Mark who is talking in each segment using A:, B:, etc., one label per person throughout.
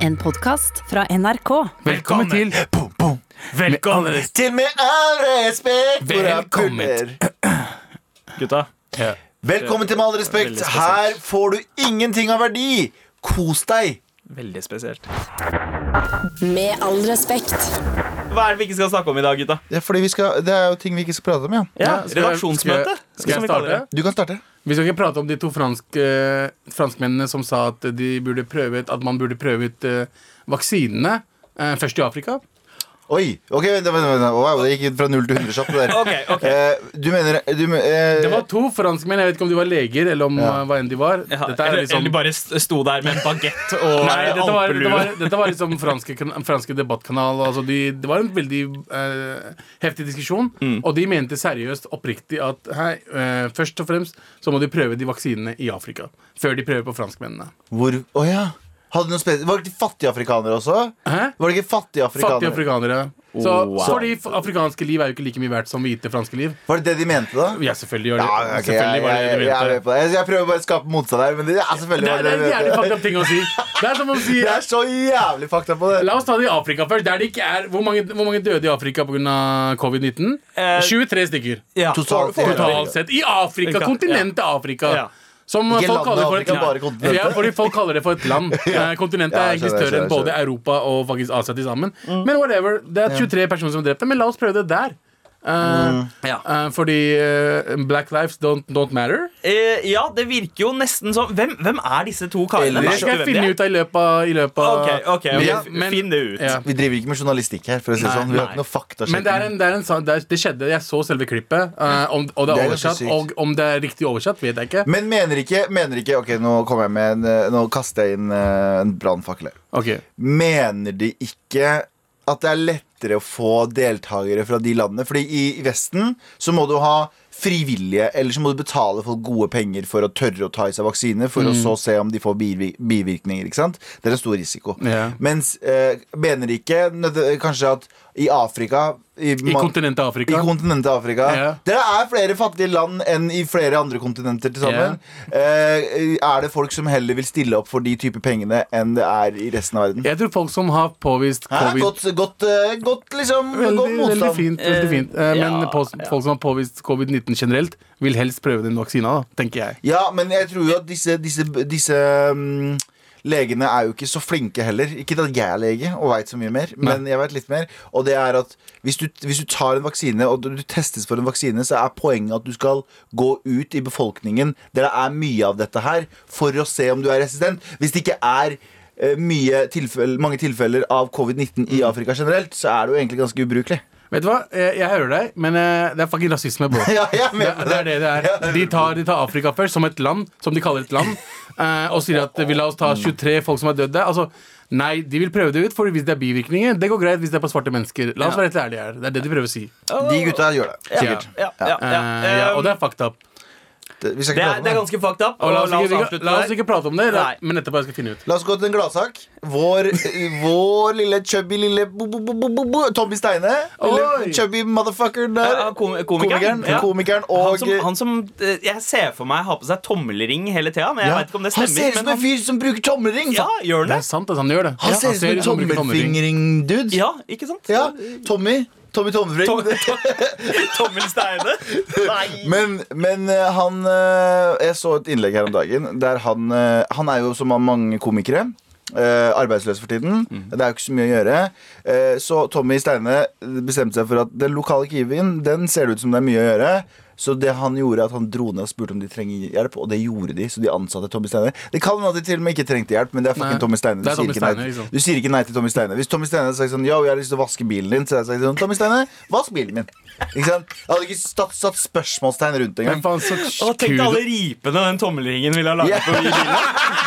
A: En podkast fra NRK.
B: Velkommen til
C: Boom, boom.
B: Velkommen
C: Til med all respekt hvor jeg
B: Velkommen.
C: puler.
B: Gutta
C: Velkommen til Med all respekt.
B: Veldig spesielt.
C: Her får du ingenting av verdi. Kos deg.
B: Veldig spesielt
A: Med all respekt.
B: Hva er det vi ikke skal snakke om i dag, gutta?
C: Det er, fordi vi skal, det er jo ting vi ikke skal prate om, ja.
B: Ja,
D: Ja, skal jeg-
B: Redaksjonsmøte
D: skal jeg- Skal jeg
B: som vi kaller
D: starte?
B: det.
C: Du kan starte.
D: Vi skal ikke prate om de to fransk, eh, franskmennene som sa at, de burde prøve ut, at man burde prøve ut eh, vaksinene eh, først i Afrika.
C: Oi. ok, vent, vent, vent, vent. Wow, Det gikk fra null til 100 kjapt. det der.
B: Ok, ok.
C: Eh, du mener du, men- eh,
D: Det var to franskmenn. Jeg vet ikke om de var leger eller om
C: Ja.
D: eh, hva enn de var.
B: Ja,
D: Dette er
B: eller,
D: liksom
B: eller bare st- sto der med en bagett og
D: Nei, dette var,
B: alpelue.
D: dette var, dette var liksom franske, kan- franske debattkanal. Altså de, det var en veldig eh, heftig diskusjon,
C: Mm.
D: og de mente seriøst oppriktig at hei, eh, først og fremst så må de prøve de vaksinene i Afrika. Før de prøver på franskmennene.
C: Hvor Å ja. Hadde du noe spes- Var det ikke fattige afrikanere også?
D: Hæ?
C: Var det ikke fattige
D: Fattige
C: afrikanere?
D: afrikanere.
C: Oh,
D: Så,
B: Wow.
D: Fordi f- afrikanske liv er jo ikke like mye verdt som hvite franske liv.
C: Var det det de mente, da?
D: Ja, selvfølgelig var det
C: Ja, ok,
D: selvfølgelig
C: jeg,
D: var det det
C: jeg,
D: du
C: jeg, jeg, er
D: mente.
C: med på det. jeg, jeg prøver bare å skape motstand her, men det er selvfølgelig
D: Det er, det er en
C: mente.
D: jævlig fucked up ting å si. Det er som å si
C: Jeg er så jævlig fakta på det.
D: La oss ta det i Afrika først. Der det ikke er, hvor, mange, hvor mange døde i Afrika pga. covid-19?
B: Eh,
D: 23 stykker.
B: ja.
C: Totalt-
B: Får-
D: Totalt sett. I Afrika.
B: Ja.
D: Kontinentet Afrika.
B: Ja.
D: Som
C: Ikke
D: folk
C: landet
D: kaller, for et,
C: Afrika, bare
D: land.
C: kontinentet.
D: ja, fordi folk kaller det for et land. Eh, Kontinentet
C: Ja,
D: er
C: jeg
D: egentlig
C: skjønner,
D: større
C: jeg
D: enn både
C: skjønner.
D: Europa og faktisk Asia til sammen. Men whatever, det er 23 personer som er drepte, men la oss prøve det der. Eh,
C: Mm.
D: eh, fordi eh, black lives don't, don't matter.
B: Eh, ja, det virker jo nesten som Hvem, hvem er disse to karene?
D: Det
C: Eller-
B: Vet
D: skal jeg
B: du hvem de
D: finne
B: er?
D: ut av i løpet av i løpet av-
B: Ok, ok, ok,
D: Ja,
B: finn det ut.
D: ja.
C: Vi driver ikke med journalistikk her. For å si det
B: Nei,
C: sånn Vi har
B: nei.
C: ikke noe fakta
D: Men det, er en, det, er en, sa- det, er, det skjedde, jeg så selve klippet, eh, om, og det
C: Det
D: er
C: er
D: oversatt.
C: ganske sykt.
D: Og om det er riktig oversatt, vet jeg ikke.
C: Men mener ikke, mener ikke Ok, nå kommer jeg med en, eh, Nå kaster jeg inn eh, en brannfakkel her.
D: Ok,
C: Mener de ikke at det er lettere å få deltakere fra de landene? Fordi i i Vesten så må du ha frivillige, eller så må du betale folk gode penger for å tørre å ta i seg vaksine, for
D: Mm.
C: å så se om de får bivi- bivirkninger. ikke sant? Det er en stor risiko.
D: Ja.
C: Mens eh, mener de ikke nødde- kanskje at i Afrika I,
D: I
C: man-
D: kontinentet Afrika.
C: I kontinentet Afrika.
D: Ja.
C: Det er flere fattige land enn i flere andre kontinenter til sammen. Eh, er det folk som heller vil stille opp for de type pengene enn det er i resten av verden?
D: jeg tror folk som har påvist
C: Hæ?
D: covid
C: Godt, godt, eh, godt liksom Godt
D: Veldig,
C: motstand.
D: veldig fint. Veldig fint. Eh,
B: ja,
D: men på, folk som har påvist covid-19 generelt, vil helst prøve den vaksina, da, tenker jeg.
C: Ja, men jeg tror jo at disse, disse, disse mm, legene er jo ikke så flinke heller. Ikke at jeg er lege og veit så mye mer, men jeg vet litt mer. Og det er at hvis du, hvis du tar en vaksine og du du testes for en vaksine, så er poenget at du skal gå ut i befolkningen der det er mye av dette her, for å se om du er resistent. Hvis det ikke er eh, mye tilfell, mange tilfeller av covid-19 i Afrika generelt, så er det jo egentlig ganske ubrukelig.
D: Vet du hva? Jeg, jeg hører deg, men eh, det er fucking rasisme, bro.
C: Ja, jeg
D: Det,
C: mener
D: det er det det er. De tar, de tar Afrika først, som et land, som de kaller et land, eh, og sier at vi la oss ta 23 folk som er døde. Altså, nei, de vil prøve det ut, for hvis det er bivirkninger, det går greit hvis det er på svarte mennesker. La oss være helt ærlige her. Det er det de prøver å si.
C: De gutta gjør det. Sikkert.
B: Ja, ja,
D: Eh,
B: ja.
D: ja, og det
B: det,
D: er fucked up.
C: Det, vi skal
B: er,
C: ikke prate om
B: det er ganske fucked up.
D: Og la, oss ikke, vi,
B: avslutte
D: la oss
B: der.
D: ikke prate om det,
B: Nei.
D: men etterpå jeg skal finne ut.
C: La oss gå til en gladsak. Vår, vår lille chubby lille bo, bo, bo, bo, bo, bo, Tommy Steine.
D: Oi.
C: Lille chubby motherfucker der.
B: Ja, kom- komikeren.
C: komikeren,
B: Ja.
C: komikeren og
B: Han som, han som eh, Jeg ser for meg har på seg tommelring hele tida, men jeg
C: Ja.
B: vet ikke om det
C: Han
B: stemmer.
C: ser ut som
B: men
C: en fyr liksom. som bruker tommelring!
B: ja, gjør
D: Det
B: han det?
D: er sant, altså, han gjør det.
C: Han
D: Ja,
C: ser ut som en
D: han bruker tommelring.
C: tommelfingring-dude.
B: Ja, ikke sant?
C: Ja, Tommy. Tommy
B: Tom-
C: Tommelfring.
B: Tom- Tommelsteine. Nei.
C: Men, men eh, han eh, Jeg så et innlegg her om dagen der han eh, Han er jo som mange komikere. eh, arbeidsløs for tiden.
D: Mm.
C: Det er jo ikke så mye å gjøre. Eh, så Tommy Steine bestemte seg for at den lokale Kiwien Den ser det ut som det er mye å gjøre. Så det han gjorde at han dro ned og spurte om de trenger hjelp, og det gjorde de. Så de ansatte Tommy Steine Det kan hende at de til og med ikke trengte hjelp, men det er fucking
D: Nei,
C: Tommy Steine. Du,
D: det er
C: sier
D: Tommy
C: ikke nei,
D: Steine, liksom.
C: du sier ikke nei til Tommy Steine. Hvis Tommy Steine hadde sagt sånn Yo, jeg har lyst til å vaske bilen din, så hadde jeg sagt sånn Tommy Steine, vask bilen min. Ikke sant? Jeg hadde ikke satt, satt spørsmålstegn rundt
D: Men
C: engang.
D: faen, så
B: Å, Tenk deg
D: kudos.
B: alle ripene den tommelringen ville ha laget på i bilen.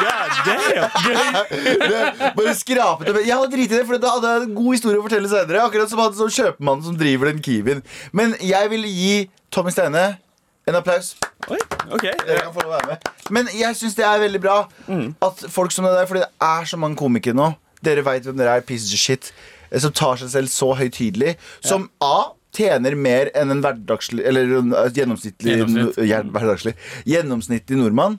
B: God damn.
C: Bare skrapet det Jeg hadde driti i det, for da hadde jeg en god historie å fortelle senere. Akkurat som han som kjøpmannen som driver den Kiwien. Men jeg vil gi Tommy Steine en applaus.
B: Oi, ok
C: Dere kan få lov å være med. Men jeg syns det er veldig bra at folk som det der, fordi det er så mange komikere nå, dere veit hvem dere er, pieces of shit, eh, som tar seg selv så høytidelig, som A tjener mer enn en hverdagslig Eller en eh, gjennomsnittlig,
D: Gjennomsnitt.
C: no- ja, hverdagslig, gjennomsnittlig nordmann.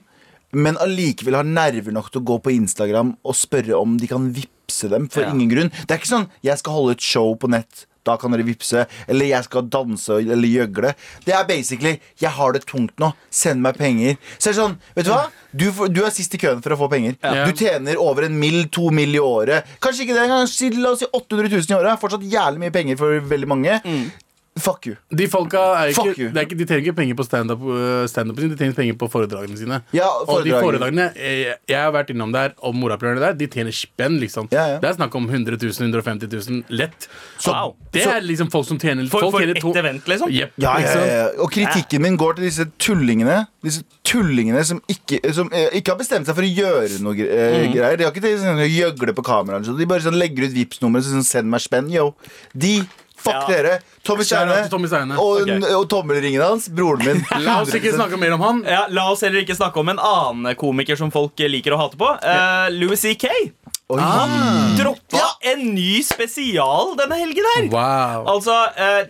C: men allikevel har nerver nok til å gå på Instagram og spørre om de kan vippse dem for
B: Ja.
C: ingen grunn. Det er ikke sånn 'jeg skal holde et show på nett'. Da kan dere vippse, eller jeg skal danse eller gjøgle. Det er basically 'jeg har det tungt nå, send meg penger'. Så er det sånn, vet du hva? Du, får- du er sist i køen for å få penger.
D: Ja.
C: Du tjener over en mill, to mill i året. Kanskje ikke det engang. si- La oss si 800 000 i året. er Fortsatt jævlig mye penger for veldig mange. Fuck you.
D: De folka er ikke,
C: Fuck you.
D: det er ikke, de trenger ikke penger på standup øh, standupen sin, de trenger penger på foredragene sine.
C: Ja,
D: Og de
C: foredragene.
D: foredragene jeg, jeg har vært innom der, og morapulerne der, de tjener spenn, liksom.
C: Ja, ja.
D: Det er snakk om 100 000, 150 000 lett. Så
B: Wow.
D: det er liksom folk som tjener
B: For,
D: folk
B: for
D: tjener
B: ett
D: to-
B: event, liksom?
D: Jepp,
C: Ja,
D: ikke
C: ja,
D: sant?
C: ja, ja. Eh, Og kritikken min går til disse tullingene Disse tullingene som ikke, som eh, ikke har bestemt seg for å gjøre noe gre-
D: Mm.
C: eh, greier. De har ikke tenkt sånn å gjøgle på kameraene. Så de bare sånn legger ut Vipps-nummeret og sånn, 'send meg spenn'. Yo. De Fuck
B: Ja.
C: dere. Tommy
D: Shout out til
C: Steine
D: Tommy Steine.
C: og,
B: Ok.
C: og tommelringen hans. Broren min.
D: La oss ikke
C: 100%.
D: snakke mer om han.
B: Ja, la oss heller ikke snakke om en annen komiker som folk liker å hate på. Eh, Louis C.K.
C: Oi.
B: Droppa en ny spesial denne helgen her.
D: Wow.
B: Altså eh,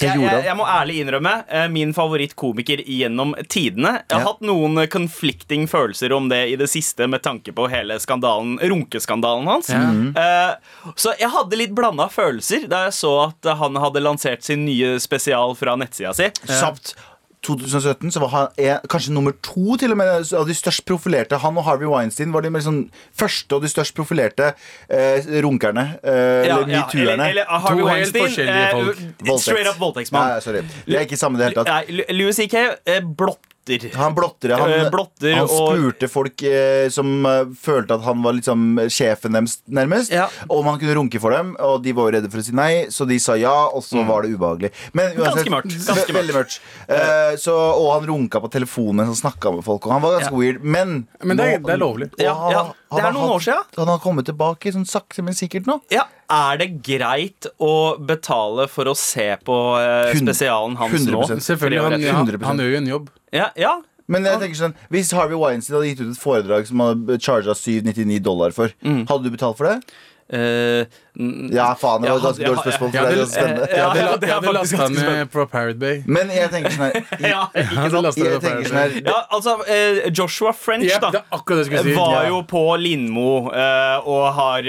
B: jeg,
C: gjorde
B: jeg,
C: han.
B: jeg må ærlig innrømme eh, min favorittkomiker gjennom tidene. Jeg har
C: Ja.
B: hatt noen eh, conflicting følelser om det i det siste med tanke på hele skandalen, runkeskandalen hans.
D: Ja.
C: Mm.
D: Mhm.
B: Eh, så jeg hadde litt blanda følelser da jeg så at eh, han hadde lansert sin nye spesial fra nettsida si.
C: Kjapt. 2017 så var han eh, kanskje nummer to til og med av de størst profilerte. Han og Harvey Weinstein var de mer sånn første og de størst profilerte eh, runkerne. Eh,
B: Ja,
C: eller
B: ja,
C: metoo-erne.
B: eller Harvey
D: To helt
B: Weinstein,
D: forskjellige
B: eh,
D: folk.
C: Voldtekt.
B: Straight up voldtektsmann.
C: Nei, nei, sorry. Det er ikke samme i det hele tatt.
B: Nei, Lu- Louis C.K. eh, blotter.
C: Han blotter, han,
B: Eh, blotter
C: han
B: og-
C: spurte folk eh, som eh, følte at han var liksom sjefen deres, nærmest,
B: Ja.
C: om han kunne runke for dem. Og de var jo redde for å si nei, så de sa ja, og så var det ubehagelig. Men
B: Mm. Ganske mørkt, ganske
C: ve- Veldig mørkt. Eh, så, og han runka på telefonen og snakka med folk, og han var ganske weird. Men,
D: Men det er-
C: nå-
D: det er lovlig.
C: og
B: Ja, ja.
C: han-
B: Det er
C: han har
B: noen år siden.
C: Han har kommet tilbake sånn sakte, men sikkert nå.
B: Ja, Er det greit å betale for å se på eh,
C: Hundre-
B: spesialen hans nå?
C: 100%.
D: Selvfølgelig, han, ja,
C: 100%.
D: han gjør jo en jobb.
B: Ja, ja.
C: Men jeg tenker sånn, hvis Harvey Weinstein hadde gitt ut et foredrag som han hadde charga 799 dollar for, hadde du betalt for det?
B: Eh, n-
C: Ja, faen, det var et
B: Ja,
C: ganske
B: ja,
C: dårlig spørsmål.
D: Jeg
C: For det er ganske
D: hadde,
C: spennende.
D: jeg hadde,
B: Ja,
D: la-
B: det er
D: jeg hadde
B: faktisk
D: lasta
B: ganske
D: med fra Pirate Bay.
C: Men jeg tenker sånn her
B: ja,
D: Jeg hadde lastet fra
C: Jeg tenker
D: Pirate
C: sånn
D: Bay.
C: her
B: ja, altså eh, Joshua French,
D: Jepp, det
B: da.
D: er akkurat det jeg skulle si.
B: Var
D: Ja.
B: jo på Lindmo eh, og har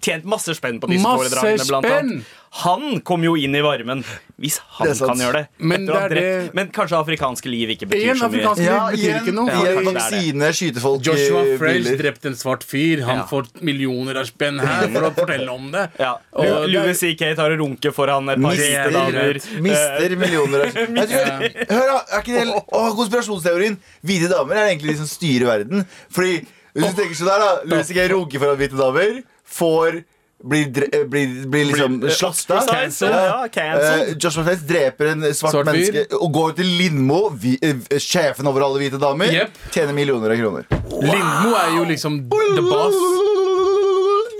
B: tjent masse spenn på disse
D: Masse
B: foredragene. Blant
D: spenn!
B: annet. Han kom jo inn i varmen, hvis han
C: Det er sant.
B: kan gjøre det.
D: Men
B: etter å ha
D: det er
B: drept-
D: det-
B: men kanskje afrikanske liv ikke betyr
D: En
B: så mye.
D: afrikansk-
C: Ja,
D: Det betyr
C: igjen,
D: ikke noe,
C: igjen
B: fordi-
C: vaksine, skyte folk i
D: Joshua French
C: biler.
D: drepte en svart fyr. Han
B: Eh, Ja.
D: får millioner av spenn her for å fortelle om det.
B: Ja.
D: Og det er-
B: Louis C.K. tar og runker foran et par hvite damer. Eh,
C: Mister, mister millioner av Jeg tror, Hør, da! Er ikke det helt- Åh, konspirasjonsteorien! Hvite damer er egentlig de som styrer verden. Fordi hvis du tenker sånn der, da Louis ikke runker foran hvite damer, får blir, dre- eh, blir, blir liksom
B: Blir, eh,
C: slakta.
B: ostracized, ja, cancelled.
C: Eh, Joshua French dreper en svart,
D: Svart fyr.
C: menneske og går til Lindmo, vi, eh, sjefen over alle hvite damer,
D: Jep.
C: tjener millioner av kroner.
D: Lindmo er jo liksom the boss.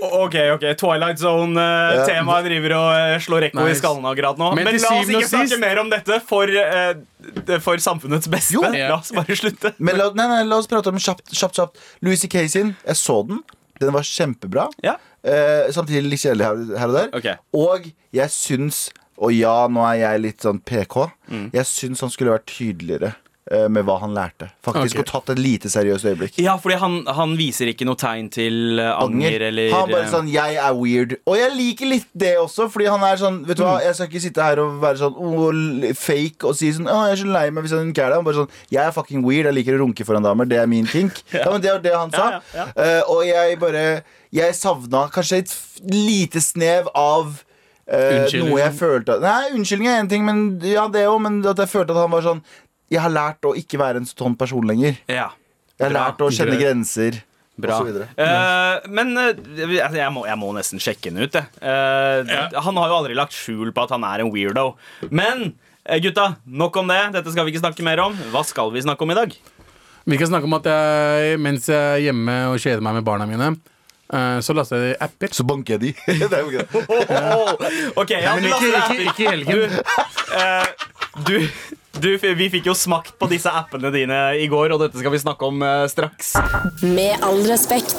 B: Ok, ok, Twilight Zone-temaet driver og eh, slår ekko i
D: Nice.
B: skallen akkurat nå.
D: Men
B: Men,
D: til
B: la oss
D: syvende og
B: ikke snakke
D: sist-
B: mer om dette for, eh, det- for samfunnets beste.
C: Jo.
B: La oss bare slutte.
C: Men la, nei, nei, la oss prate om den kjapt, kjapt, kjapt. Louis C.K. sin, jeg så den. Den var kjempebra.
B: Ja.
C: Eh, samtidig litt kjedelig her, her og der.
B: Ok.
C: Og jeg syns Og ja, nå er jeg litt sånn PK.
B: Mm.
C: Jeg syns han skulle vært tydeligere eh, med hva han lærte.
D: Ok.
C: Faktisk Og tatt et lite seriøst øyeblikk.
B: Ja, fordi han, han viser ikke noe tegn til eh, anger eller
C: han bare
B: eh,
C: sånn 'jeg er weird'. Og jeg liker litt det også, fordi han er sånn Vet du hva,
B: Mm.
C: jeg skal ikke sitte her og være sånn oh, l- fake og si sånn 'Å, jeg er så lei meg hvis jeg runker deg'. Han bare sånn 'Jeg er fucking weird, jeg liker å runke foran damer, det er min kink'. ja. men Det var det han sa.
B: Ja, ja,
C: Eh, og jeg bare Jeg savna kanskje et f- lite snev av eh,
D: Unnskyldning.
C: noe jeg følte at- Nei, unnskyldning er én ting, men ja, det òg, men at jeg følte at han var sånn Jeg har lært å ikke være en sånn person lenger.
B: Ja,
C: Jeg har
B: Bra.
C: lært å kjenne
D: Greit.
C: grenser.
B: bra.
C: Og så videre.
B: Eh, men eh, altså, jeg, må, jeg må nesten sjekke den ut, jeg. Eh,
D: Ja.
B: Han har jo aldri lagt skjul på at han er en weirdo. Men eh, gutta, nok om det. Dette skal vi ikke snakke mer om. Hva skal vi snakke om i dag?
D: Vi kan snakke om at jeg, mens jeg er hjemme og kjeder meg med barna mine, eh, så laster jeg apper.
C: Så banker jeg de. det er jo greit.
B: Ok, ja,
D: Men
B: du,
D: ikke,
B: Lasse,
D: ikke, ikke i helgen.
B: eh, du, du, vi fikk jo smakt på disse appene dine i går, og dette skal vi snakke om eh, straks.
A: Med all respekt.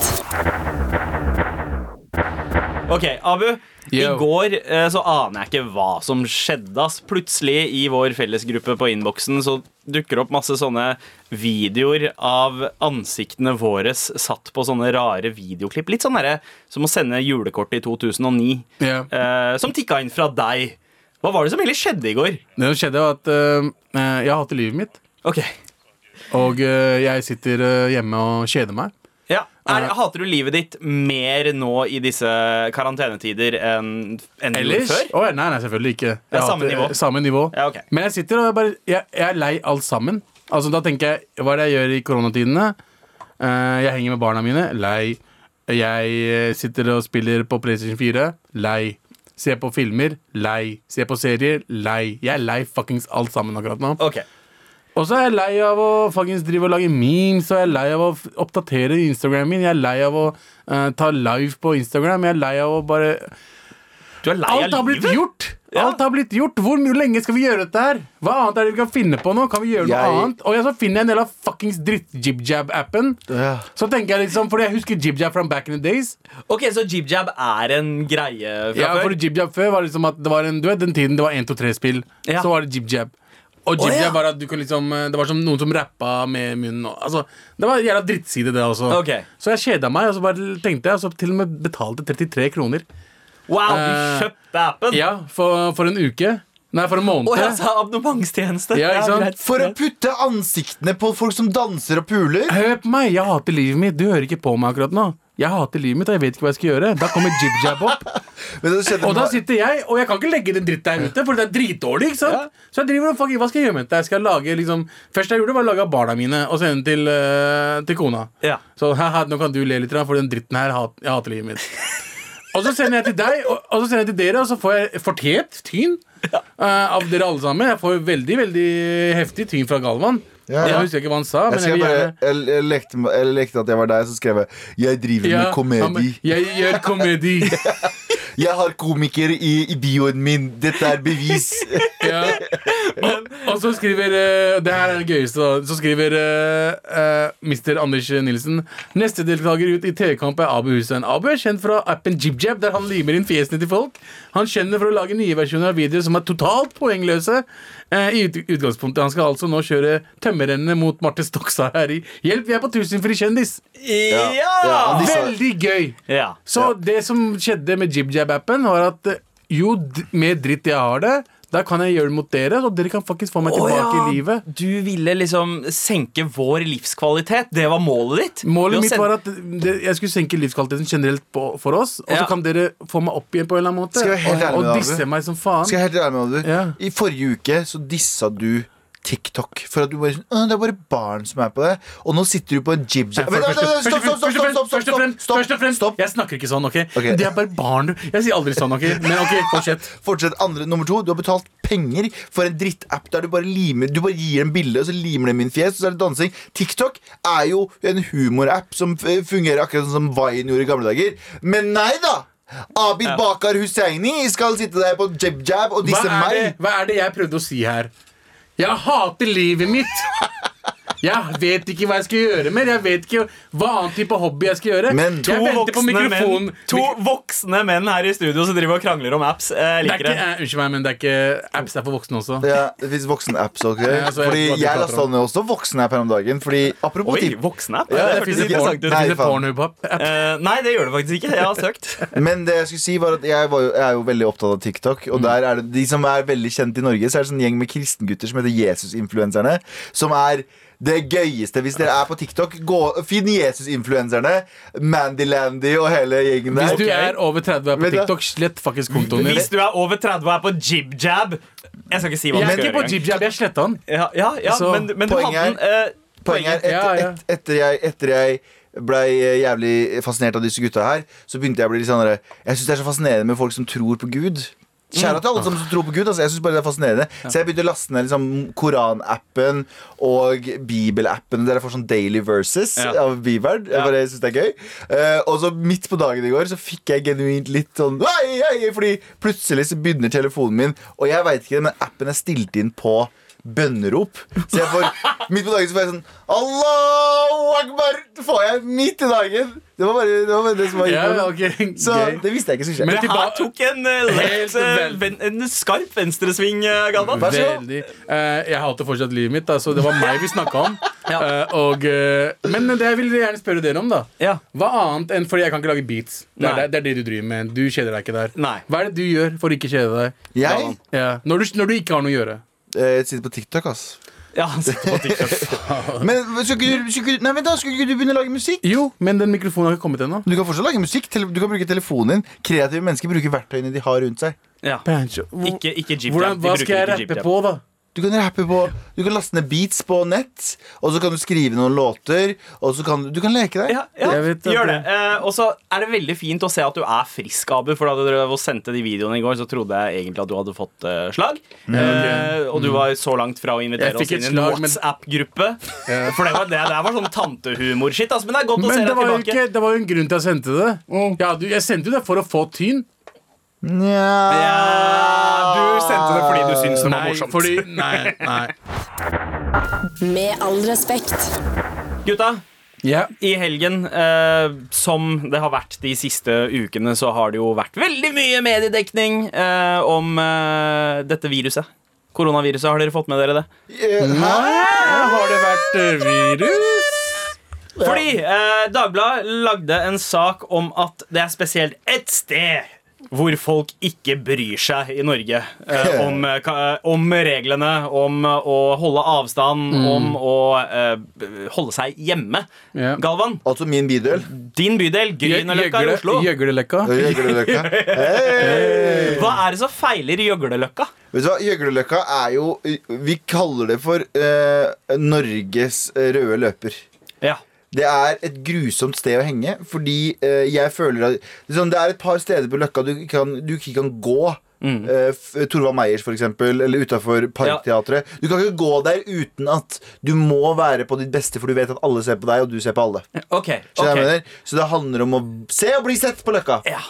B: Ok, Abu.
D: Yo.
B: I går eh, så aner jeg ikke hva som skjedde. ass. Plutselig i vår fellesgruppe på innboksen så dukker det opp masse sånne videoer av ansiktene våre satt på sånne rare videoklipp. Litt sånn derre som å sende julekortet i 2009.
D: Ja.
B: eh, som tikka inn fra deg. Hva var det som egentlig skjedde i går?
D: Det som skjedde, var at eh, eh, jeg hater livet mitt.
B: Ok,
D: Og eh, jeg sitter eh, hjemme og kjeder meg.
B: ja. Er, Hater du livet ditt mer nå i disse karantenetider enn enn du gjorde
D: Ellers?
B: før?
D: Å, ja, nei, nei, selvfølgelig ikke. Jeg
B: samme
D: hater-
B: nivå.
D: Samme nivå.
B: Ja, ok.
D: Men jeg sitter og bare jeg, jeg er lei alt sammen. Altså, da tenker jeg Hva er det jeg gjør i koronatidene? Eh, jeg henger med barna mine. Lei. Jeg eh, sitter og spiller på PlayStation 4. Lei. Ser på filmer. Lei. Ser på serier. Lei. Jeg er lei fuckings alt sammen akkurat nå.
B: Ok,
D: Og så er jeg lei av å fuckings drive og lage memes, og jeg er lei av å f- oppdatere Instagramen min. Jeg er lei av å eh, ta live på Instagram. Jeg er lei av å bare
B: Du er lei
D: Alt
B: av
D: har blitt
B: livet?
D: gjort!
B: Ja.
D: Alt har blitt gjort Hvor mye lenge skal vi gjøre dette her? Hva annet er det vi kan finne på nå? Kan vi gjøre noe
C: Jeg-
D: annet? Og ja, så finner jeg en del av fuckings dritt-jibjab-appen.
C: Ja.
D: Så tenker jeg liksom Fordi jeg husker jibjab from back in the days.
B: Ok, så jib-jab er en greie fra
D: Ja, for
B: før?
D: jibjab før var liksom at det var en, Du vet den tiden det var 1-2-3-spill.
B: Ja.
D: Så var det jibjab. Og jibjab
B: ja.
D: var at du kunne liksom eh, Det var som noen som rappa med munnen. Og, altså, det var en jævla drittside, det også.
B: Ok.
D: Så jeg kjeda meg, og så bare tenkte jeg, og så til og med betalte 33 kroner.
B: Wow, du
D: Eh,
B: kjøpte appen?
D: Ja, for, for en uke. Nei, for en måned.
B: Å, jeg sa abonnementstjeneste.
D: Ja, ikke sant?
B: greit.
C: For å putte ansiktene på folk som danser og puler.
D: Hør på meg, jeg hater livet mitt. Du hører ikke på meg akkurat nå. Jeg hater livet mitt, og jeg vet ikke hva jeg skal gjøre. Da kommer jib-jab opp.
C: Men det skjedde
D: Og da
C: med-
D: sitter jeg, og jeg kan ikke legge den dritt der ute, for det er dritdårlig. ikke sant? Så jeg driver og fucking, Hva skal jeg gjøre med dette? Jeg skal lage, liksom, Først jeg gjorde, var å lage av barna mine og sende den til, eh, til kona.
B: Ja.
D: Så haha, nå kan du le litt, for den dritten her hat, jeg hater livet mitt. og så sender jeg til deg, og, og så sender jeg til dere, og så får jeg fortjent tyn eh, av dere alle sammen. Jeg får veldig veldig heftig tyn fra Galvan.
C: Ja.
D: Jeg husker ikke hva han sa,
C: jeg,
D: men jeg
C: skrev
D: vil
C: bare,
D: gjerne
C: jeg, jeg, lekte, med- jeg lekte at jeg var deg, så skrev jeg 'Jeg driver
D: Ja,
C: med
D: han-
C: komedi'.
D: Jeg gjør komedi.
C: Jeg har komiker i, i bioen min. Dette er bevis.
D: Ja. Og, og så skriver eh, Det her er det gøyeste. da Så skriver eh, eh, Mr. Anders Nilsen neste deltaker ut i TV-kamp er Abu Hussein. Abu er kjent fra appen JibJab, der han limer inn fjesene til folk. Han kjenner for å lage nye versjoner av videoer som er totalt poengløse. eh, I ut utgangspunktet Han skal altså nå kjøre tømmerrennene mot Marte Stokstad her i Hjelp, vi er på Tusenfri kjendis!
B: Ja!
C: Ja, de-
D: Veldig gøy!
B: Ja.
D: Så det som skjedde med JibJab-appen, var at eh, jo d- mer dritt jeg har det, da kan jeg gjøre det mot dere, og dere kan faktisk få meg
B: Å,
D: tilbake
B: ja.
D: i livet.
B: Du ville liksom senke vår livskvalitet. Det var målet ditt?
D: Målet mitt var
B: at
D: at det, jeg skulle senke livskvaliteten generelt på, for oss, og så
B: Ja.
D: kan dere få meg opp igjen på en eller annen måte.
C: Skal jeg være helt ærlig
D: og,
C: med
D: og
C: deg, Abu?
D: disse meg som faen.
C: Skal jeg helt ærlig med deg,
D: Ja.
C: Abu? I forrige uke så dissa du TikTok. For at du bare sånn, «Åh, Det er bare barn som er på det. Og nå sitter du på en jib jab Vent, vent, vent, Stopp, stopp, stopp! stopp,
D: Først og
C: stopp,
D: fremst,
C: stopp,
D: først og fremst,
C: stopp.
D: jeg snakker ikke sånn, OK?
C: Ok.
D: Det er bare barn, du. Jeg sier aldri sånn, OK? Men OK, fortsett.
C: Fortsett andre, nummer to, Du har betalt penger for en drittapp der du bare limer Du bare gir dem bilde, og så limer de min fjes, og så er det dansing. TikTok er jo en humorapp som f- fungerer akkurat sånn som Vine gjorde i gamle dager. Men nei da! Abid Bakar Husseini skal sitte der på jib-jab
D: Hva
C: og disse
D: er, det,
C: meg.
D: hva er det jeg prøvde å si her? Jeg hater livet mitt! Jeg vet ikke hva jeg skal gjøre mer. Jeg vet ikke hva annen type hobby jeg skal gjøre.
C: Men-
B: to
D: jeg venter på
B: voksne, menn,
D: mikrofonen.
B: to voksne menn her i studio som driver og krangler om apps. Eh,
D: Det
B: Jeg
D: er
B: liker
D: ikke,
B: det.
D: eh, unnskyld meg, men det er ikke apps det er for voksne også.
C: Ja, det fins voksenapps også.
D: Ja, så jeg
C: fordi
D: vet hva du
C: jeg
D: prater
C: lasta
D: om.
C: ned også voksenapp her om dagen. Fordi apropos
B: Oi,
C: Oi.
B: voksen app?
C: Ja,
B: det
D: Det
B: hørtes
D: finnes
C: ikke
D: en
B: interessant
D: porn-
B: ut.
D: det
C: Nei,
D: finnes en
C: faen.
D: Pornhub-app.
B: Eh, nei, det gjør det faktisk ikke. Jeg har søkt.
C: Men det jeg skulle si var at jeg, var jo, jeg er jo veldig opptatt av TikTok. Og der er det, de som er veldig kjent i Norge, så er det sånn gjeng med kristengutter som heter Jesusinfluenserne. Som er det gøyeste. Hvis dere er på TikTok, gå, finn Jesusinfluenserne. Mandy-Landy og hele gjengen der.
D: Hvis du er over 30 og er på
C: Vet du-
D: TikTok, slett faktisk kontoen din.
B: Hvis du er over 30 og er på jib-jab Jeg skal ikke si hva
D: Jeg
B: du
D: er
B: skal
D: ikke
B: gjøre.
D: på
B: engang.
D: JibJab, jeg sletta den.
B: Ja, ja, ja
D: Så,
B: men, men du hadde
C: poenget
B: den eh,
C: Poenget er,
D: Ja,
C: etter,
D: ja.
C: et, etter jeg, etter jeg blei eh, jævlig fascinert av disse gutta her, så begynte jeg å bli litt sånn der, Jeg syns det er så fascinerende med folk som tror på Gud. Kjære til alle som tror på Gud. Altså, jeg synes bare det er fascinerende Så jeg begynte å laste ned liksom, Koran-appen og Bibel-appen. Der jeg får sånn Daily Verses
B: Ja.
C: av Bibelen. Jeg bare synes det er gøy. Eh, og så midt på dagen i går så fikk jeg genuint litt sånn «Ai, ai», Fordi plutselig så begynner telefonen min, og jeg veit ikke det, men appen er stilt inn på bønnerop. Så jeg får midt på dagen så får jeg sånn Allahu akbar! Det får jeg midt i dagen. Det var bare det, var bare det som var
D: Ja,
C: innholdet.
D: ok, gøy.
C: Så det visste jeg ikke skulle
D: Men
C: skje.
B: Det her
D: tilba-
B: tok en, eh, lett,
D: Helt vel.
B: eh, ven- en skarp venstresving, eh, Galvan.
C: Vær så god.
D: Veldig. Eh, jeg hater fortsatt livet mitt, da, så det var meg vi snakka om. Eh, og, eh, men det jeg vil gjerne spørre dere om, da.
B: Ja.
D: Hva annet enn Fordi jeg kan ikke lage beats. Det er,
B: Nei.
D: det, det er det du driver med. Du kjeder deg ikke der.
B: Nei.
D: Hva er det du gjør for å ikke kjede deg?
C: Jeg
D: Ja. Når, du, når du ikke har noe å gjøre.
C: eh, sitter på TikTok, ass.
B: Ja, han sitter på TikTok.
C: Men skulle ikke du, skulle ikke du, nei, vent da, skulle ikke du begynne å lage musikk?
D: Jo, men den mikrofonen har ikke kommet ennå.
C: Du kan fortsatt lage musikk. tele- Du kan bruke telefonen din. Kreative mennesker bruker verktøyene de har rundt seg.
B: Ja.
D: Hvordan,
B: Ikke, ikke jib jab. De
D: hva skal jeg
B: bruker ikke
D: rappe
B: jib jab.
D: på, da?
C: Du kan rappe på Du kan laste ned beats på nett, og så kan du skrive noen låter, og så kan du Du kan leke deg.
B: Ja, ja
D: Jeg vet at
B: gjør det.
D: det-
B: Eh, og så er det veldig fint å se at du er frisk, Abu. For da du drev og sendte de videoene i går, så trodde jeg egentlig at du hadde fått eh, slag. Eh, og du var så langt fra å
D: Mm.
B: invitere
D: Jeg
B: oss
D: fikk
B: inn i
D: et
B: en
D: slag, men-
B: WhatsApp-gruppe. For det, var, det der var sånn tantehumor-shit. Altså, men det er godt å se
D: Men det
B: deg
D: var, jo
B: tilbake.
D: ikke, det var jo en grunn til at jeg sendte det.
B: Mm.
D: Ja, du, jeg sendte jo det for å få tyn.
B: Ja, Ah, du sendte det fordi du syntes det var
D: Nei,
B: morsomt.
D: fordi, nei, nei.
A: Med all respekt.
B: Gutta,
D: Ja.
B: i helgen, eh, som det har vært de siste ukene, så har det jo vært veldig mye mediedekning eh, om eh, dette viruset. Koronaviruset, har dere fått med dere det?
C: Eh, Hæ?
D: Har det vært eh, virus?
B: Fordi eh, Dagbladet lagde en sak om at det er spesielt ett sted hvor folk ikke bryr seg i Norge eh, om, eh, ka- om reglene, om eh, å holde avstand,
D: Mm.
B: om å eh, b- holde seg hjemme.
D: Ja.
B: Galvan,
C: Altså min bydel.
B: din bydel, Grünerløkka i
D: Gjøgle-
B: Oslo.
D: Gjøgleløkka.
C: Gjøgleløkka. Hey!
B: Hva er det som feiler Gjøgleløkka?
C: Vet du hva, Gjøgleløkka er jo Vi kaller det for eh, Norges eh, røde løper.
B: Ja.
C: Det er et grusomt sted å henge, fordi eh, jeg føler at liksom, Det er et par steder på Løkka du ikke kan, du ikke kan gå. Eh, f- Torvald Meyers, for eksempel, eller utafor Parkteatret. Du kan ikke gå der uten at du må være på ditt beste, for du vet at alle ser på deg, og du ser på alle.
B: Ok.
C: Skjønner
B: ok.
C: du hva jeg mener? Så det handler om å se og bli sett på Løkka.
B: Ja.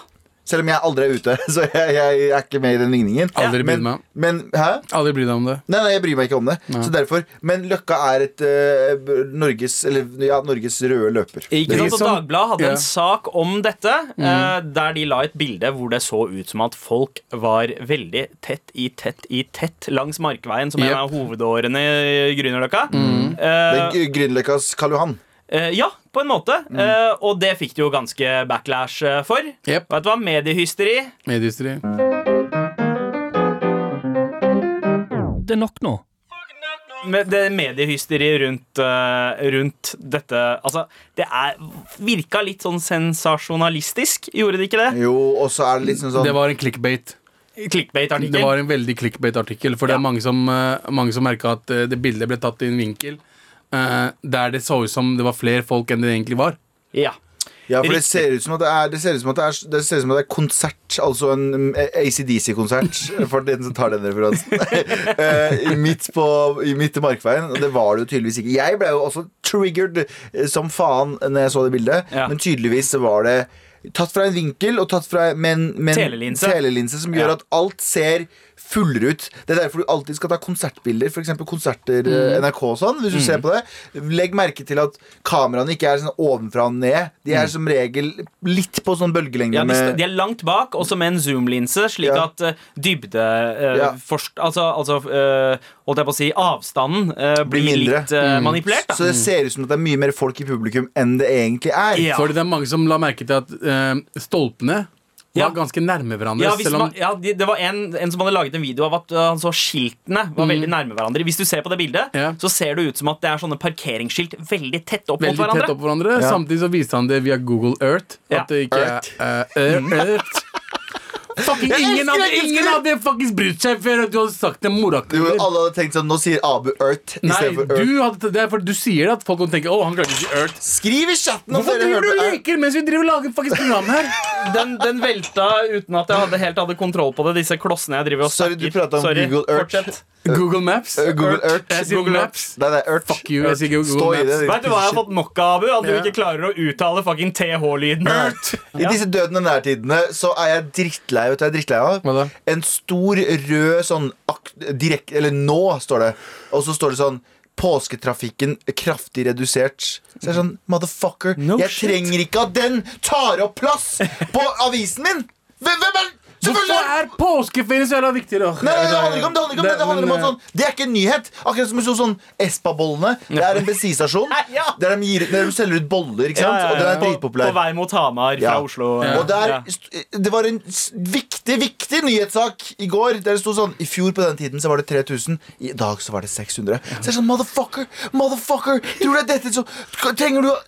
C: Selv om jeg aldri er ute, så jeg, jeg er ikke med i den ligningen.
D: Aldri brydd
C: men,
D: meg.
C: men hæ?
D: Aldri bry deg om det.
C: Nei, nei, jeg bryr meg ikke om det. Så derfor, Men Løkka er et eh, b- Norges, eller, ja, Norges røde løper.
B: Ikke sant, og
D: Liksom-
B: Dagbladet hadde
D: Ja. Mm.
B: en sak om dette, eh, der de la et bilde hvor det så ut som at folk var veldig tett i tett i tett langs Markveien, som en
D: Jep. Mm.
B: av hovedårene i Grünerløkka. Eh,
C: Det er Gr- Grünerløkkas Karl Johan.
B: eh, ja, på en måte. Eh, og det fikk de jo ganske backlash eh, for.
D: Mm. Jep.
B: Vet du hva? Mediehysteri.
D: Mediehysteri.
E: Det er nok nå.
B: Med det mediehysteriet rundt, eh, rundt dette Altså, det er virka litt sånn sensasjonalistisk, gjorde det ikke det?
C: Jo, og så er det litt sånn sånn
D: Det var en clickbait. Det
B: Clickbait-artikkel.
D: var en veldig clickbait-artikkel. For det
B: Ja.
D: er mange som, eh, mange som merka at eh, det bildet ble tatt i en vinkel eh, der det så ut som det var flere folk enn det egentlig var.
B: Ja.
C: Ja, for det
B: Riktig.
C: ser ut som at det er Det ser ut som at det er, det ser ut som at det er konsert, altså en mm, ACDC-konsert, for den som tar den referansen, Eh, midt, på, i- midt i Markveien. Og det var det jo tydeligvis ikke. Jeg ble jo også triggered eh, som faen når jeg så det bildet,
B: Ja.
C: men tydeligvis så var det Tatt fra en vinkel og tatt fra men, men,
B: Telelinse.
C: telelinse som gjør
B: Ja.
C: at alt ser fullere ut. Det er derfor du alltid skal ta konsertbilder, f.eks. konserter
D: Mm.
C: eh, NRK og sånn. Hvis du ser på det, legg merke til at kameraene ikke er sånn ovenfra og ned. De
D: Mm.
C: er som regel litt på sånn bølgelengde
B: Ja, de, st-
C: med
B: de er langt bak, også med en zoom-linse, slik
C: Ja.
B: at eh, dybde eh,
C: Ja.
B: forst, Altså, altså eh, holdt jeg på å si, avstanden eh, blir
C: mindre. Mm.
B: litt eh, manipulert.
C: Så
B: Da.
C: det
D: Mm.
C: ser ut som at det er mye mer folk i publikum enn det egentlig er.
B: Ja.
D: Fordi det er mange som la merke til at eh, stolpene
B: Ja.
D: var ganske nærme hverandre.
B: Ja, hvis
D: selv om
B: man, ja, de- det var en, en som hadde laget en video av at eh, han så skiltene var
C: Mm.
B: veldig nærme hverandre. Hvis du ser på det bildet,
D: Ja.
B: så ser det ut som at det er sånne parkeringsskilt veldig tett opp mot
D: Veldig
B: hverandre.
D: tett opp hverandre.
C: Ja.
D: Samtidig så viste han det via Google Earth.
B: Ja.
D: At det ikke
C: Earth.
D: er eh, Earth. Fucking ingen hadde, ingen hadde fucking brydd seg før at du hadde sagt det
C: Jo,
D: moraktig.
C: alle hadde tenkt sånn Nå sier Abu Earth
D: Nei,
C: istedenfor Earth.
D: du hadde, det er fordi du sier at folk kommer til å tenke Å, han klarte ikke Earth.
C: Skriv i chatten om
D: Hvorfor
C: dere
D: driver du og
C: hørte Earth.
D: leker mens vi driver og lager faktisk program her?
B: Den, den velta uten at jeg hadde helt hadde kontroll på det, disse klossene jeg driver og
C: Sorry, du pratet om Google Earth.
B: Fortsett.
D: Google Maps.
C: Eh, Google Earth.
D: Jeg sier Google Maps.
C: Nei, det er urt.
D: Fuck you, jeg sier Google
C: Stå i det.
D: Maps.
C: ditt
B: Vet du hva jeg har fått nok av, Abu? At du
D: Ja.
B: ikke klarer å uttale fucking TH-lyden.
C: I disse dødende nærtidene så er jeg drittlei vet du, hva jeg er drittlei av.
D: Hva da?
C: En stor rød sånn ak- direkt, Eller nå, står det. Og så står det sånn Påsketrafikken kraftig redusert. Så jeg er sånn, motherfucker,
B: No
C: jeg
B: shit.
C: trenger ikke at den tar opp plass på avisen min! Hvem, hvem er Selvfølgelig!
D: Hvorfor er påskeferie så jævla viktig, da?
C: Nei, nei, det handler ikke om det. handler ikke om Det Det handler om
D: men,
C: at sånn, det er ikke en nyhet. Akkurat som vi så sånn Espa-bollene. Det er en bensinstasjon
B: Ja.
C: der, de gir, der de selger ut boller, ikke
B: Ja,
C: sant?
B: ja, ja.
C: Og den er
B: På-
C: dritpopulær.
B: På vei mot Hamar fra
C: Ja.
B: Oslo.
C: Og der,
B: Ja.
C: st- Det var en s- viktig viktig nyhetssak i går. Der det sto sånn I fjor på den tiden så var det 3000, i dag så var det 600. Så jeg er sånn, motherfucker, motherfucker! Tror du det er dette som Trenger du å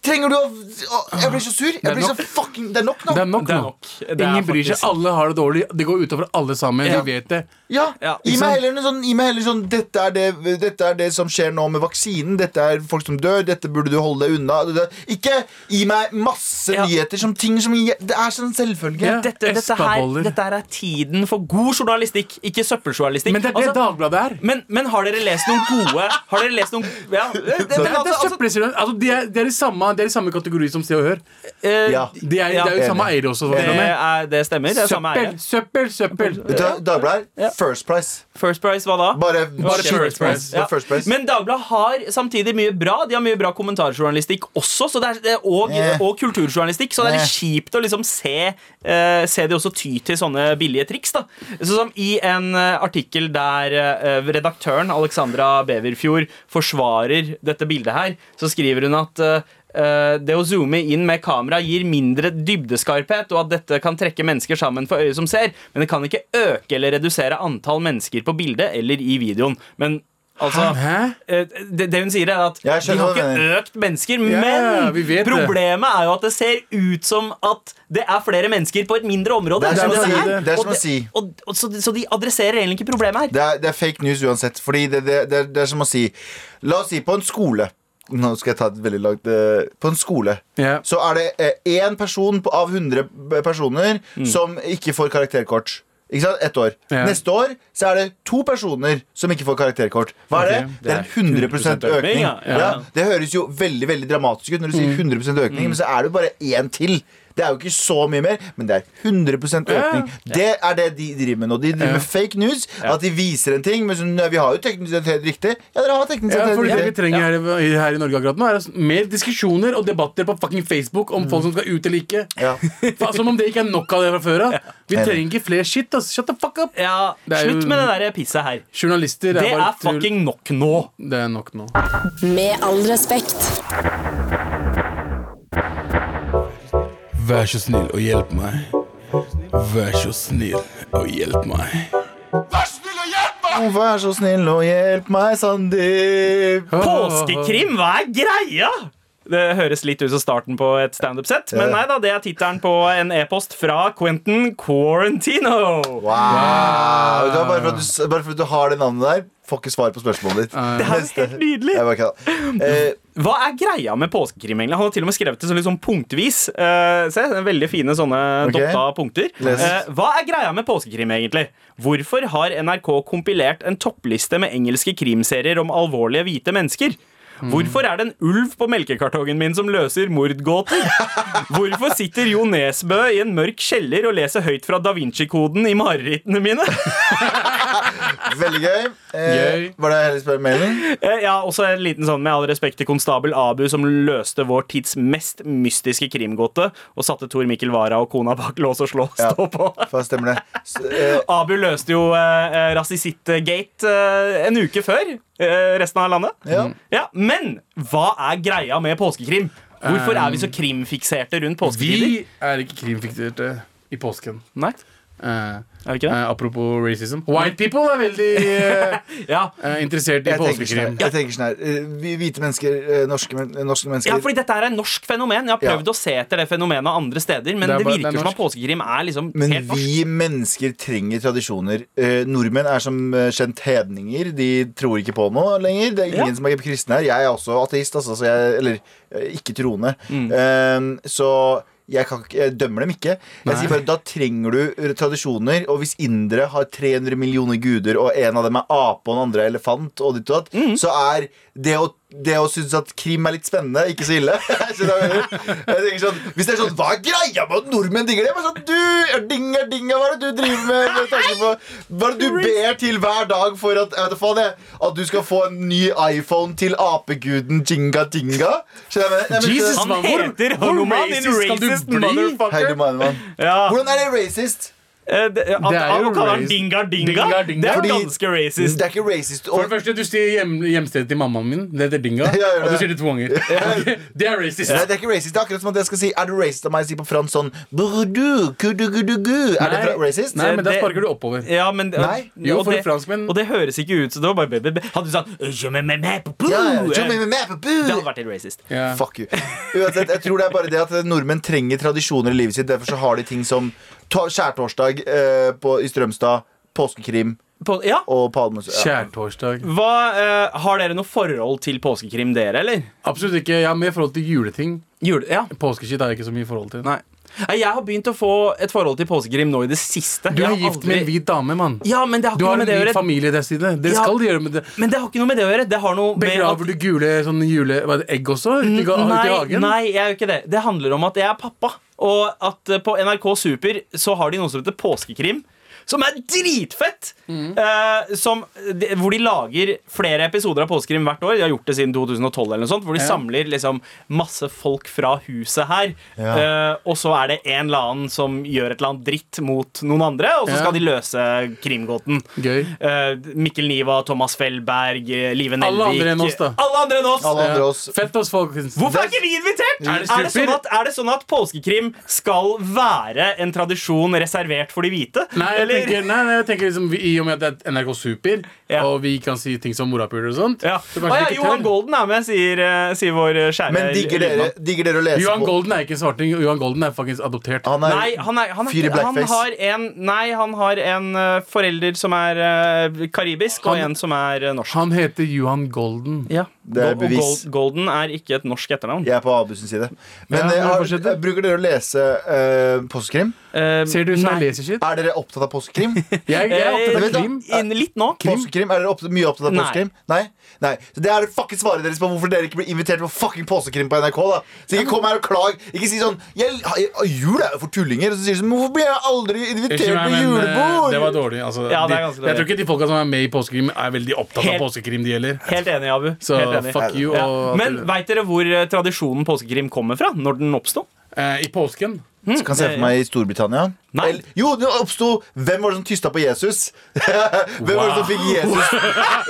C: Trenger du å å, Jeg blir så sur. Jeg
D: er
C: blir så
D: nok.
C: fucking Det er nok nå.
D: eh, Det er nok
B: Det er
D: nå.
B: nok. Det er
D: Ingen bryr seg.
B: faktisk-
D: Alle har det dårlig. Det går utover alle sammen.
B: Ja.
D: Vi vet det.
C: Ja,
B: Ja,
C: gi,
B: ikke
C: meg
B: sant?
C: heller en sånn, gi meg heller sånn dette er, det, dette er det som skjer nå med vaksinen. Dette er folk som dør. Dette burde du holde deg unna. Det- det- Ikke gi meg masse
B: Ja.
C: nyheter som ting som jeg- Det er sånn selvfølge.
D: Ja.
B: Dette, dette, her,
D: Espaboller.
B: dette her er tiden for god journalistikk, ikke søppeljournalistikk.
D: Men det er det
B: Altså,
D: Dagbladet er.
B: men, men har dere lest noen gode Har dere lest noen ja, det, det,
D: Det er, det
B: altså,
D: er søppeljournal- altså, de, er, de, er i samme, de er i samme kategori som Se og Hør.
B: altså, eh,
C: Ja.
D: De er,
B: Ja.
D: det er jo samme eiere også.
B: det,
D: Dagbladet.
B: er, det stemmer. Det er samme
D: Søppel,
B: eier.
D: søppel, søppel.
C: Vet du hva, Dagbladet er First Price.
B: First Price, hva da?
C: Bare,
D: Bare
C: shit.
D: First Price.
C: Bare First Price.
B: Men Dagbladet har samtidig mye bra. De har mye bra kommentarjournalistikk også, så det er, det er- og,
C: Yeah.
B: og kulturjournalistikk. Så det er litt kjipt å liksom se, eh, se de også ty til sånne billige triks. da Sånn som i en eh, artikkel der eh, redaktøren Alexandra Beverfjord forsvarer dette bildet her, så skriver hun at eh, eh, det å zoome inn med kamera gir mindre dybdeskarphet, og at dette kan trekke mennesker sammen for øyet som ser, men det kan ikke øke eller redusere antall mennesker på bildet eller i videoen. Men Altså,
D: Hæ?
B: eh, det, det hun sier, er at de
C: Jeg skjønner
B: har
C: hva du
B: ikke
C: mener.
B: økt mennesker,
D: Ja,
B: men
D: vi vet det.
B: problemet er jo at det ser ut som at det er flere mennesker på et mindre område.
C: Det er
D: som
B: enn
D: å si
C: det. Det er som
B: Og
C: å si.
B: Og, og, så, så de adresserer egentlig ikke problemet her.
C: Det er, det er fake news uansett. Fordi det, det, det, er, det er som å si La oss si på en skole Nå skal jeg ta et veldig langt eh, På en skole
D: Ja.
C: så er det én person på, av 100 personer som ikke får karakterkort. Ikke sant? Ett år.
D: Ja.
C: Neste år så er det to personer som ikke får karakterkort. Hva er det?
D: Ok.
C: Det er en 100 økning.
B: ja, ja.
C: Det høres jo veldig veldig dramatisk ut når du sier 100 økning, men så er det jo bare én til. Det er jo ikke så mye mer, men det er 100 økning. Det er det de driver med nå. De driver med fake news. At de viser en ting, men sånn, «Nei, vi har jo teknisk sett helt riktig. Ja, dere har teknisk
D: Ja,
C: sett
D: for
C: helt
D: det vi
C: riktig.
D: trenger her, i- her i Norge akkurat nå, er altså mer diskusjoner og debatter på fucking Facebook om folk som skal ut eller ikke.
C: Ja.
D: Fa- Som om det ikke er nok av det fra før av. Vi
C: Enig.
D: trenger ikke flere shit. ass. Shut the fuck up.
B: Ja,
D: Det er jo-
B: Slutt med det der pisset her.
D: Journalister
B: Det
D: bare
B: er
D: tull.
B: fucking nok nå.
D: Det er nok nå.
A: Med all respekt.
F: Vær så snill og hjelp meg. Vær så snill og hjelp meg.
C: Vær så snill og hjelp meg, Sandeep.
B: Påskekrim, hva er greia? Det høres litt ut som starten på et standup-sett, men nei da, det er tittelen på en e-post fra Quentin Quarantino.
C: Wow. Det var bare, for at du, s- bare for at du har det navnet der, får ikke svar på spørsmålet ditt.
B: Det er jo
C: Neste.
B: helt nydelig.
C: Jeg bare kødda. Eh,
B: Hva er greia med påskekrim? egentlig? Han har til og med skrevet det så litt sånn punktvis. Eh, se, det er veldig fine sånne
C: Ok.
B: dotta punkter.
C: Les.
B: Eh, hva er greia med påskekrim, egentlig? Hvorfor har NRK kompilert en toppliste med engelske krimserier om alvorlige hvite mennesker?
C: Hmm.
B: Hvorfor er det en ulv på melkekartongen min som løser mordgåter? Hvorfor sitter Jo Nesbø i en mørk kjeller og leser høyt fra Da Vinci-koden i marerittene mine?
C: veldig gøy. Eh,
D: Gøy.
C: var det Hellig spør mailen?
B: Eh, Ja, også en liten sånn med all respekt til konstabel Abu, som løste vår tids mest mystiske krimgåte og satte Tor Mikkel Wara og kona bak lås og slå. Stå på.
C: Hva stemmer det? S eh,
B: Abu løste jo eh, eh, Rasisitt-gate eh, en uke før eh, resten av landet.
C: ja.
B: Ja, Men hva er greia med påskekrim? Hvorfor er vi så krimfikserte rundt påsketider?
D: Um, Vi er ikke krimfikserte i påsken.
B: Nei,
D: Eh,
B: er vi ikke det?
D: eh, apropos racism. White people er veldig eh,
B: Ja.
D: eh, interessert i
C: Jeg tenker sånn her.
D: påskekrim.
C: Jeg tenker sånn her. eh, vi- Hvite mennesker, eh, norske, men eh, norske mennesker
B: Ja, fordi Dette her er norsk fenomen. Jeg har
C: Ja.
B: prøvd å se etter det fenomenet andre steder. Men
D: Det er
B: det,
D: bare- det er
B: virker som
D: norsk.
B: at påskekrim er liksom
C: Men
B: helt norsk.
C: vi mennesker trenger tradisjoner. Eh, nordmenn er som eh, kjent hedninger. De tror ikke på noe lenger. Det er ingen
B: Ja.
C: som er
B: Mm.
C: kristne her. Jeg er også ateist, altså. Så jeg, eller eh, ikke troende. Eh, så Jeg, kan, ikke- jeg dømmer dem ikke. Jeg
D: Nei.
C: sier bare da trenger du tradisjoner. Og hvis indere har 300 millioner guder, og en av dem er ape og den andre er elefant, og ditt og datt,
B: Mm.
C: så er det å det å synes at krim er litt spennende, ikke så ille. Skjønner du hva jeg mener? Jeg tenker sånn, hvis det er sånn Hva er greia med at nordmenn digger det? Jeg bare sånn, du, dinga, dinga, Hva er det du driver med? med tanke på, hva er det du ber til hver dag for at jeg vet da faen jeg, At du skal få en ny iPhone til apeguden Jinga Dinga? Skjønner du hva jeg mener? Jeg mener? sånn,
D: Jesus,
C: skjønner du-
B: Han
D: man, hvor-
B: heter
D: hvor
B: Honoman in
D: racist skal du
B: racist
D: bli?
C: Hei,
B: motherfucker.
C: du mannemann.
B: Ja.
C: Hvordan er det racist?
B: Eh, det- At
D: Det er jo
B: han kaller han
D: racist.
B: dinga dinga,
D: Dinga dinga.
B: det er
D: Fordi-
B: ganske racist.
C: Det er ikke racist.
D: For
C: Og,
D: det første, du sier hjem, hjemstedet til mammaen min. Det heter Dinga.
C: Ja, gjør det.
D: og du sier det to ganger. Ok, Det er racist.
C: Nei, det er ikke racist. Det er akkurat som at jeg skal si Er det racist av meg å si på fransk sånn Burdu, kudugudugu Er det
D: Nei.
C: fra- racist?
D: Nei, men da
B: Det-
D: sparker du oppover.
B: Ja, men
C: Nei.
B: og-
D: Jo,
B: og
D: for
B: det-
D: franskmenn-
B: Og det høres ikke ut som det var bare be- be- be- Hadde du sagt «Je me- me- me- pou- pou»,
C: Ja, ja.
B: eh,
C: Jump in
B: Det
C: with me, babu.
B: hadde vært helt racist.
D: Ja.
C: Fuck you. Uansett, jeg tror det er bare det at nordmenn trenger tradisjoner i livet sitt. Derfor så har de ting som ta- skjærtorsdag eh, på, i Strømstad, påskekrim
B: På, ja.
C: og palmes... Ja.
D: Kjærtorsdag.
B: Hva, eh, har dere noe forhold til påskekrim, dere, eller?
D: Absolutt ikke. Jeg har mer forhold til juleting.
B: Jule, ja.
D: Påskeskitt har jeg ikke så mye forhold til.
B: Nei. Nei, Jeg har begynt å få et forhold til påskekrim nå i det siste.
D: Du
B: Jeg
D: er
B: har
D: gift
B: aldri-
D: med en hvit dame, mann.
B: Ja, men det har
D: Du
B: ikke
D: har
B: noe med
D: en
B: det å
D: hvit
B: gjøre.
D: familie i det stedet. Det
B: Ja.
D: skal de gjøre med det.
B: Men det har ikke noe med det å gjøre. Det har noe med at-
D: Begraver du gule sånne jule... Hva er det, egg også? Ute i ga- ute i
B: Nei,
D: hagen?
B: nei, jeg er jo ikke det. Det handler om at jeg er pappa. Og at eh, på NRK Super så har de noe som heter Påskekrim. Som er dritfett!
D: Mm.
B: Eh, som, de, hvor de lager flere episoder av Påskekrim hvert år. De har gjort det siden 2012. eller noe sånt Hvor de
D: Ja.
B: samler liksom masse folk fra huset her.
C: Ja.
B: Eh, og så er det en eller annen som gjør et eller annet dritt mot noen andre, og så
D: Ja.
B: skal de løse krimgåten.
D: Gøy.
B: Eh, Mikkel Niva, Thomas Fellberg, eh, Live
D: Alle
B: Nelvik
D: andre enn oss, da.
B: Alle andre enn oss.
C: Alle andre oss.
D: Fett oss, folkens.
B: Hvorfor er ikke vi invitert?
D: Er
B: Er
D: det
B: det, sånn
D: super?
B: at, er det sånn at påskekrim skal være en tradisjon reservert for de hvite?
D: Nei, jeg
B: Eller-
D: tenker, nei, nei, jeg tenker liksom, vi, I og med at det er NRK Super,
B: Ja.
D: og vi kan si ting som morapuler og sånt
B: ja.
D: så
B: Å
D: kanskje
B: ja,
D: vi ikke
B: Johan
D: tør.
B: Golden er med, sier, eh, sier vår eh, kjære
C: Men digger dere,
B: Lydmann.
C: digger dere å lese
D: Johan
C: på
D: Golden er ikke en svarting. Johan Golden er faktisk adoptert.
C: Han er,
B: Nei, han, er, han, er,
C: Fyr i
B: ikke- han
C: blackface.
B: har en, nei, han har en eh, forelder som er eh, karibisk, og
D: Han-
B: en som er eh, norsk.
D: Han heter Johan Golden.
B: Ja.
C: Det er
B: Go- og
C: bevis.
B: Gol- Golden er ikke et norsk etternavn.
C: Jeg er på Abusens side.
D: Ja,
C: Men eh,
D: men
C: har,
D: fortsett.
C: eh, bruker dere å lese eh, påskekrim?
B: Eh,
D: Ser du ut som
B: nei. Eh,
D: jeg leser shit?
C: Er dere opptatt av påskekrim?
D: Jeg, jeg er opptatt
C: vet
D: av
C: da-
D: krim.
B: Inn- Litt nå.
C: Påskekrim? Er dere opp, mye opptatt av
B: Nei.
C: påskekrim? Nei? Nei. Så Det er det fucking svaret deres på hvorfor dere ikke blir invitert på fucking påskekrim på NRK. da Så ikke kom her og klag. Ikke si sånn jeg, jeg, 'Jul er jo for tullinger.' Og så sier de sånn 'Hvorfor blir jeg aldri
D: Unnskyld
C: invitert
D: meg,
C: på
D: men, eh,
C: julebord?'
D: det var dårlig. Altså,
B: Ja, det er
D: de- Jeg
B: ganske dårlig.
D: tror ikke de folka som er med i påskekrim, er veldig opptatt
B: Helt-
D: av påskekrim, de heller.
B: Helt enig, Abu.
D: Så
B: Helt enig.
D: fuck you.
B: Ja.
D: Og,
B: Men veit dere hvor eh, tradisjonen påskekrim kommer fra? Når den oppsto?
D: eh, I påsken
C: Så kan jeg se for meg i Storbritannia.
B: Nei.
C: Eller- jo, det oppsto Hvem var det som tysta på Jesus? Hvem var det som fikk Jesus?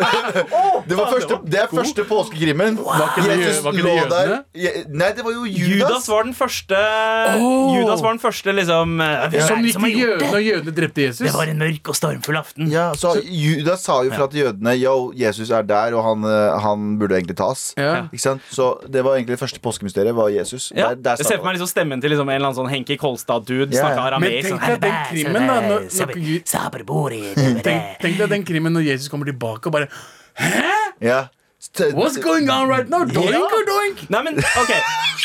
C: Det, var første, det er første påskekrimmen.
D: Var ikke det jø-
C: Jesus
D: var ikke det
C: lå der.
D: jødene?
C: Je- Nei, det var jo
B: Judas
C: Judas.
B: var den første
D: Åh!
B: Judas var den første liksom eh, hvem
D: Som
B: er det
D: gikk
B: har
D: til
B: gjort
D: jødene,
B: det?
D: og jødene drepte Jesus.
B: Det var en mørk og stormfull aften.
C: Ja, så Judas sa jo fra til jødene Yo, Jesus er der, og han, eh, han burde egentlig tas.
D: Ja.
C: Ikke sant? Så det var egentlig det første påskemysteriet var Jesus.
B: Ja.
C: Der, der
B: jeg
C: startet
B: ser for meg liksom stemmen til liksom en eller annen sånn Henki Kolstad-dude.
C: Ja, ja.
B: Snakka
D: Men
B: arameisk.
D: tenk
B: Sånn,
D: deg den krimmen, da. Når, når, tenk,
A: Tenk
D: tenk deg den krimmen når Jesus kommer tilbake og bare
C: det. Ja. St-
D: What's going on right now? Doink
B: Ja.
D: or doink?
B: Nei, men OK.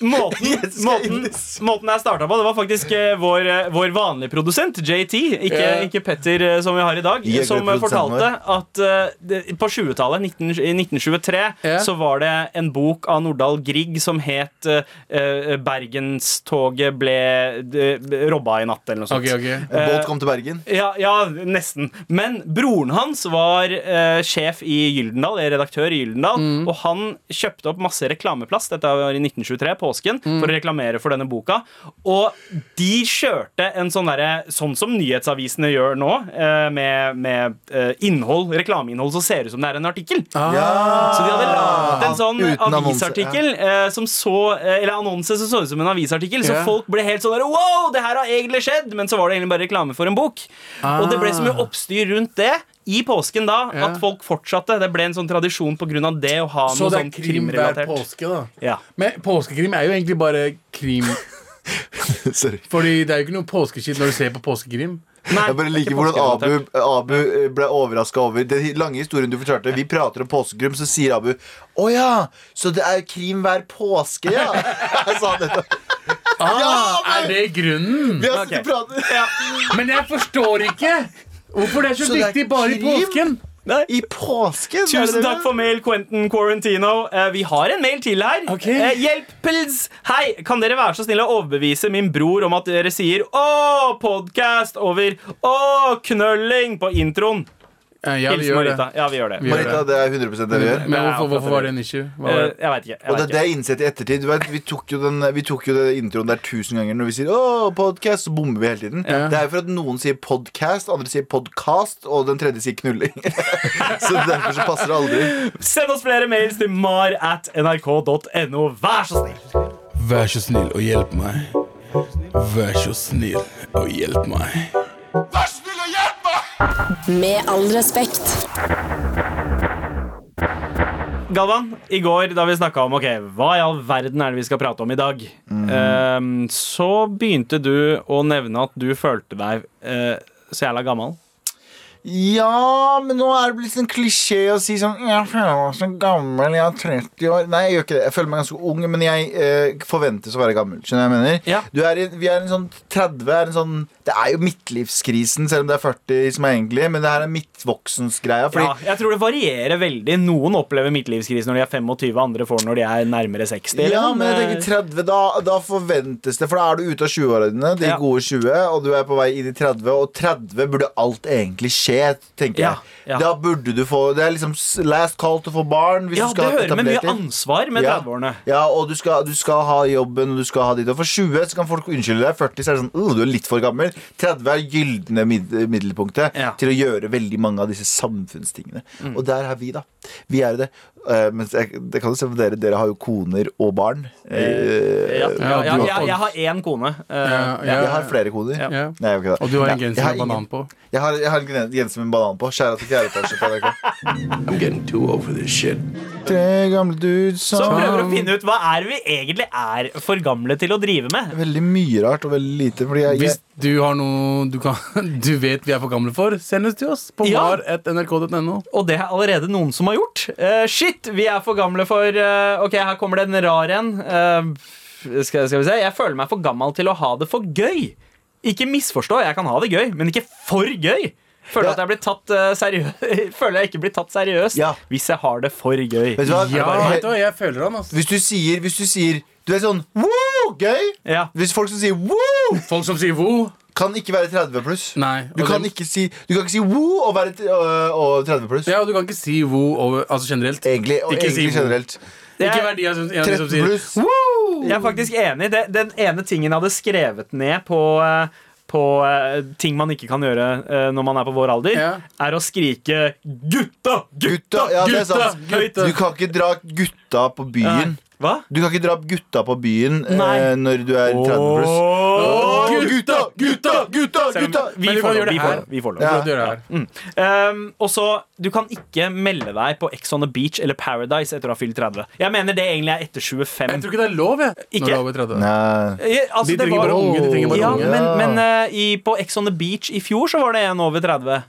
B: Måten,
C: skal
B: måten,
C: inn i-
B: måten jeg starta på, det var faktisk eh, vår, eh, vår vanlige produsent, JT, ikke,
D: Ja.
B: ikke Petter eh, som vi har i dag,
C: Jeg er
B: som eh,
C: produsenten
B: fortalte at eh, det, på 20-tallet, 19, i 1923,
D: Ja.
B: så var det en bok av Nordahl Grieg som het eh, eh, 'Bergenstoget ble eh, robba i natt', eller noe sånt.
D: Ok, ok
C: En
B: Eh,
C: båt kom til Bergen.
B: Ja, ja, nesten. Men broren hans var eh, sjef i Gyldendal, eller redaktør i Gyldendal, og han kjøpte opp masse reklameplass, dette var i 1923, påsken, for å reklamere for denne boka. Og de kjørte en sånn derre Sånn som nyhetsavisene gjør nå, eh, med, med eh, innhold, reklameinnhold som ser ut som det er en artikkel.
C: Ja.
B: Så de hadde
D: Ah.
B: laget en sånn
C: Uten annonse,
B: avisartikkel eh, som så eh, Eller annonse som så ut som en avisartikkel, så
D: Ja.
B: folk ble helt sånn der, Wow, det her har egentlig skjedd! Men så var det egentlig bare reklame for en bok. Og det ble så mye oppstyr rundt det. I påsken da,
D: Ah. Ja.
B: at folk fortsatte. Det ble en sånn tradisjon pga. det å ha
D: Så
B: noe
D: det er
B: sånn
D: krim hver
B: krimrelatert.
D: påske, da.
B: Ja.
D: Men påskekrim er jo egentlig bare krim.
C: Sorry.
D: Fordi det er jo ikke noe påskeskitt når du ser på påskekrim.
B: Nei,
C: Jeg bare liker
B: ikke
C: hvordan
B: påskerelatert.
C: Abu, Abu eh, ble overraska over den lange historien du fortalte. Vi prater om påskekrim, så sier Abu 'Å ja, så det er krim hver påske', ja'. Jeg sa det.
D: Ah, er det grunnen?
C: Vi har sittet
B: Ok.
C: og pratet
D: Men jeg forstår ikke hvorfor det er så,
C: Så det er
D: viktig bare i
C: krim?
D: påsken.
B: Nei.
C: i påsken.
B: Tusen takk for mail, Quentin Quarantino. Eh, vi har en mail til her.
D: Ok.
B: Eh, hjelp, pils! Hei, kan dere være så snille å overbevise min bror om at dere sier 'Å, podcast over 'Å, knølling' på introen?
D: Eh, Ja, vi
B: Hils
D: gjør det.
B: Marita. Ja, vi gjør det.
D: Vi gjør
C: Marita, det er 100 det vi gjør.
D: Men hvorfor, hvorfor var det en issue? Hva var
B: Eh,
D: det?
B: jeg veit ikke. Jeg
C: Og det,
B: vet
C: det
B: ikke.
C: er innsett i ettertid. Du vet, vi tok jo den, vi tok jo den introen der tusen ganger når vi sier åh, podcast, så bommer vi hele tiden.
D: Ja.
C: Det er jo for at noen sier podcast, andre sier podcast, og den tredje sier knulling. så derfor så passer det aldri.
B: Send oss flere mails til mar at nrk.no, vær så snill.
F: Vær så snill og hjelp meg. Vær så snill og hjelp meg.
A: Med all respekt.
B: Galvan, i går da vi snakka om ok, hva i all verden er det vi skal prate om i dag,
D: Mhm.
B: eh, så begynte du å nevne at du følte deg eh, så jævla gammel.
C: Ja, men nå er det blitt en klisjé å si sånn Jeg føler meg så gammel, jeg er 30 år Nei, jeg gjør ikke det. Jeg føler meg ganske ung, men jeg eh, forventes å være gammel. Skjønner du hva jeg mener?
B: Ja.
C: Du er i, vi er i en sånn 30 er en sånn, Det er jo midtlivskrisen, selv om det er 40 som er egentlig, men det her er midtvoksensgreia. Fordi
B: ja, jeg tror det varierer veldig. Noen opplever midtlivskrise når de er 25, andre får når de er nærmere 60. eller sånn, eh,
C: Ja,
B: noe,
C: men jeg tenker 30, da, da forventes det, for da er du ute av 20-årene dine, de
B: Ja.
C: gode 20, og du er på vei inn i 30, og 30 burde alt egentlig skje, tenker
B: Ja,
C: jeg.
B: ja.
C: Da burde du få, det er liksom s- last call til å få barn, hvis
B: ja,
C: du
B: det
C: skal ha
B: hører med mye
C: etablert det.
B: ansvar med
C: Ja.
B: 30-årene.
C: Ja, og du skal, du skal ha jobben, og du skal ha ditt, og for 20 så kan folk unnskylde deg, 40 så er det sånn, «Åh, du er litt for gammel, 30 er gyldne mid middelpunktet
B: Ja.
C: til å gjøre veldig mange av disse samfunnstingene. Og der er vi da, vi er det. Eh, men jeg, det kan jo se på dere, dere har jo koner og barn. Eh,
B: Ja, ja, ja,
D: du har-
B: jeg, jeg har én kone. eh,
D: Ja,
B: ja.
D: ja.
C: Jeg har flere koder.
D: Ja.
C: Nei, jeg har ikke det.
D: Og du har en
C: Nei,
D: genser
C: jeg har
D: med
C: ingen-
D: banan på.
C: Jeg har, jeg har en gren- genser med banan på. Skjæra til fjerde etasje på NRK.
F: I'm getting too old for this shit.
C: Tre gamle dudes
B: Så
C: som
B: prøver å finne ut hva er vi egentlig er for gamle til å drive med.
C: Veldig mye rart og veldig lite. Fordi jeg, jeg,
D: Hvis du har noe du, kan, du vet vi er for gamle for, send oss til oss på
B: Ja.
D: var.nrk.no.
B: Og det er allerede noen som har gjort. Eh, shit, vi er for gamle for eh, Ok, her kommer det en rar en. Eh, skal, skal vi se. Jeg føler meg for gammel til å ha det for gøy. Ikke misforstå, jeg kan ha det gøy, men ikke for gøy. Føler
C: Ja.
B: at jeg blir tatt eh, seriø- Føler jeg ikke blir tatt seriøst
C: Ja.
B: hvis jeg har det for gøy.
C: vet du hva?
D: Ja,
C: Jeg-
D: vet du hva, jeg føler han, altså.
C: Hvis du sier Hvis du sier Du er sånn Woo! Gøy!
B: Ja.
C: Hvis folk som sier woo,
D: Folk som sier vo.
C: kan ikke være 30 pluss.
D: Nei.
C: Du
D: og
C: kan,
D: dem-
C: ikke si, du kan ikke si woo og være t- øh, og 30 pluss.
D: Ja, og du kan ikke si vo over, altså generelt.
C: Egentlig, og
D: Ikke si
C: egentlig
D: woo.
C: generelt.
D: Ikke
B: Jeg-
D: vær de av som- en av de
C: 13
D: som sier
C: pluss.
B: Jeg er faktisk enig. Det, den ene tingen jeg hadde skrevet ned på eh, på eh, ting man ikke kan gjøre eh, når man er på vår alder,
D: Ja.
B: er å skrike 'gutta, gutta,
C: Gutta! Ja, det er
B: gutta!'
C: sant.
B: høyt.
C: Du kan ikke dra gutta på byen.
B: Hva?
C: Du kan ikke dra gutta på byen
B: Nei.
C: eh, når du er 30 pluss.
B: Åh.
C: Åh, gutta, gutta, gutta, gutta!
B: Vi
D: Men du
B: får
D: kan
B: lov.
D: gjøre det
B: Vi får
D: her.
B: lov. Vi får lov.
C: Ja.
D: Hva du gjør her?
B: Um, og så, Du kan ikke melde deg på Ex on the Beach eller Paradise etter å ha fylt 30. Jeg mener det egentlig er etter 25.
D: Jeg tror ikke det er lov, jeg.
B: Ikke.
D: Når du er over 30.
C: Nei.
B: Eh, altså,
D: De
B: det
D: trenger
B: var-
D: bare unge. De trenger bare
B: ja,
D: unge.
B: Men, men eh, i, på Ex on the Beach i fjor så var det en over 30.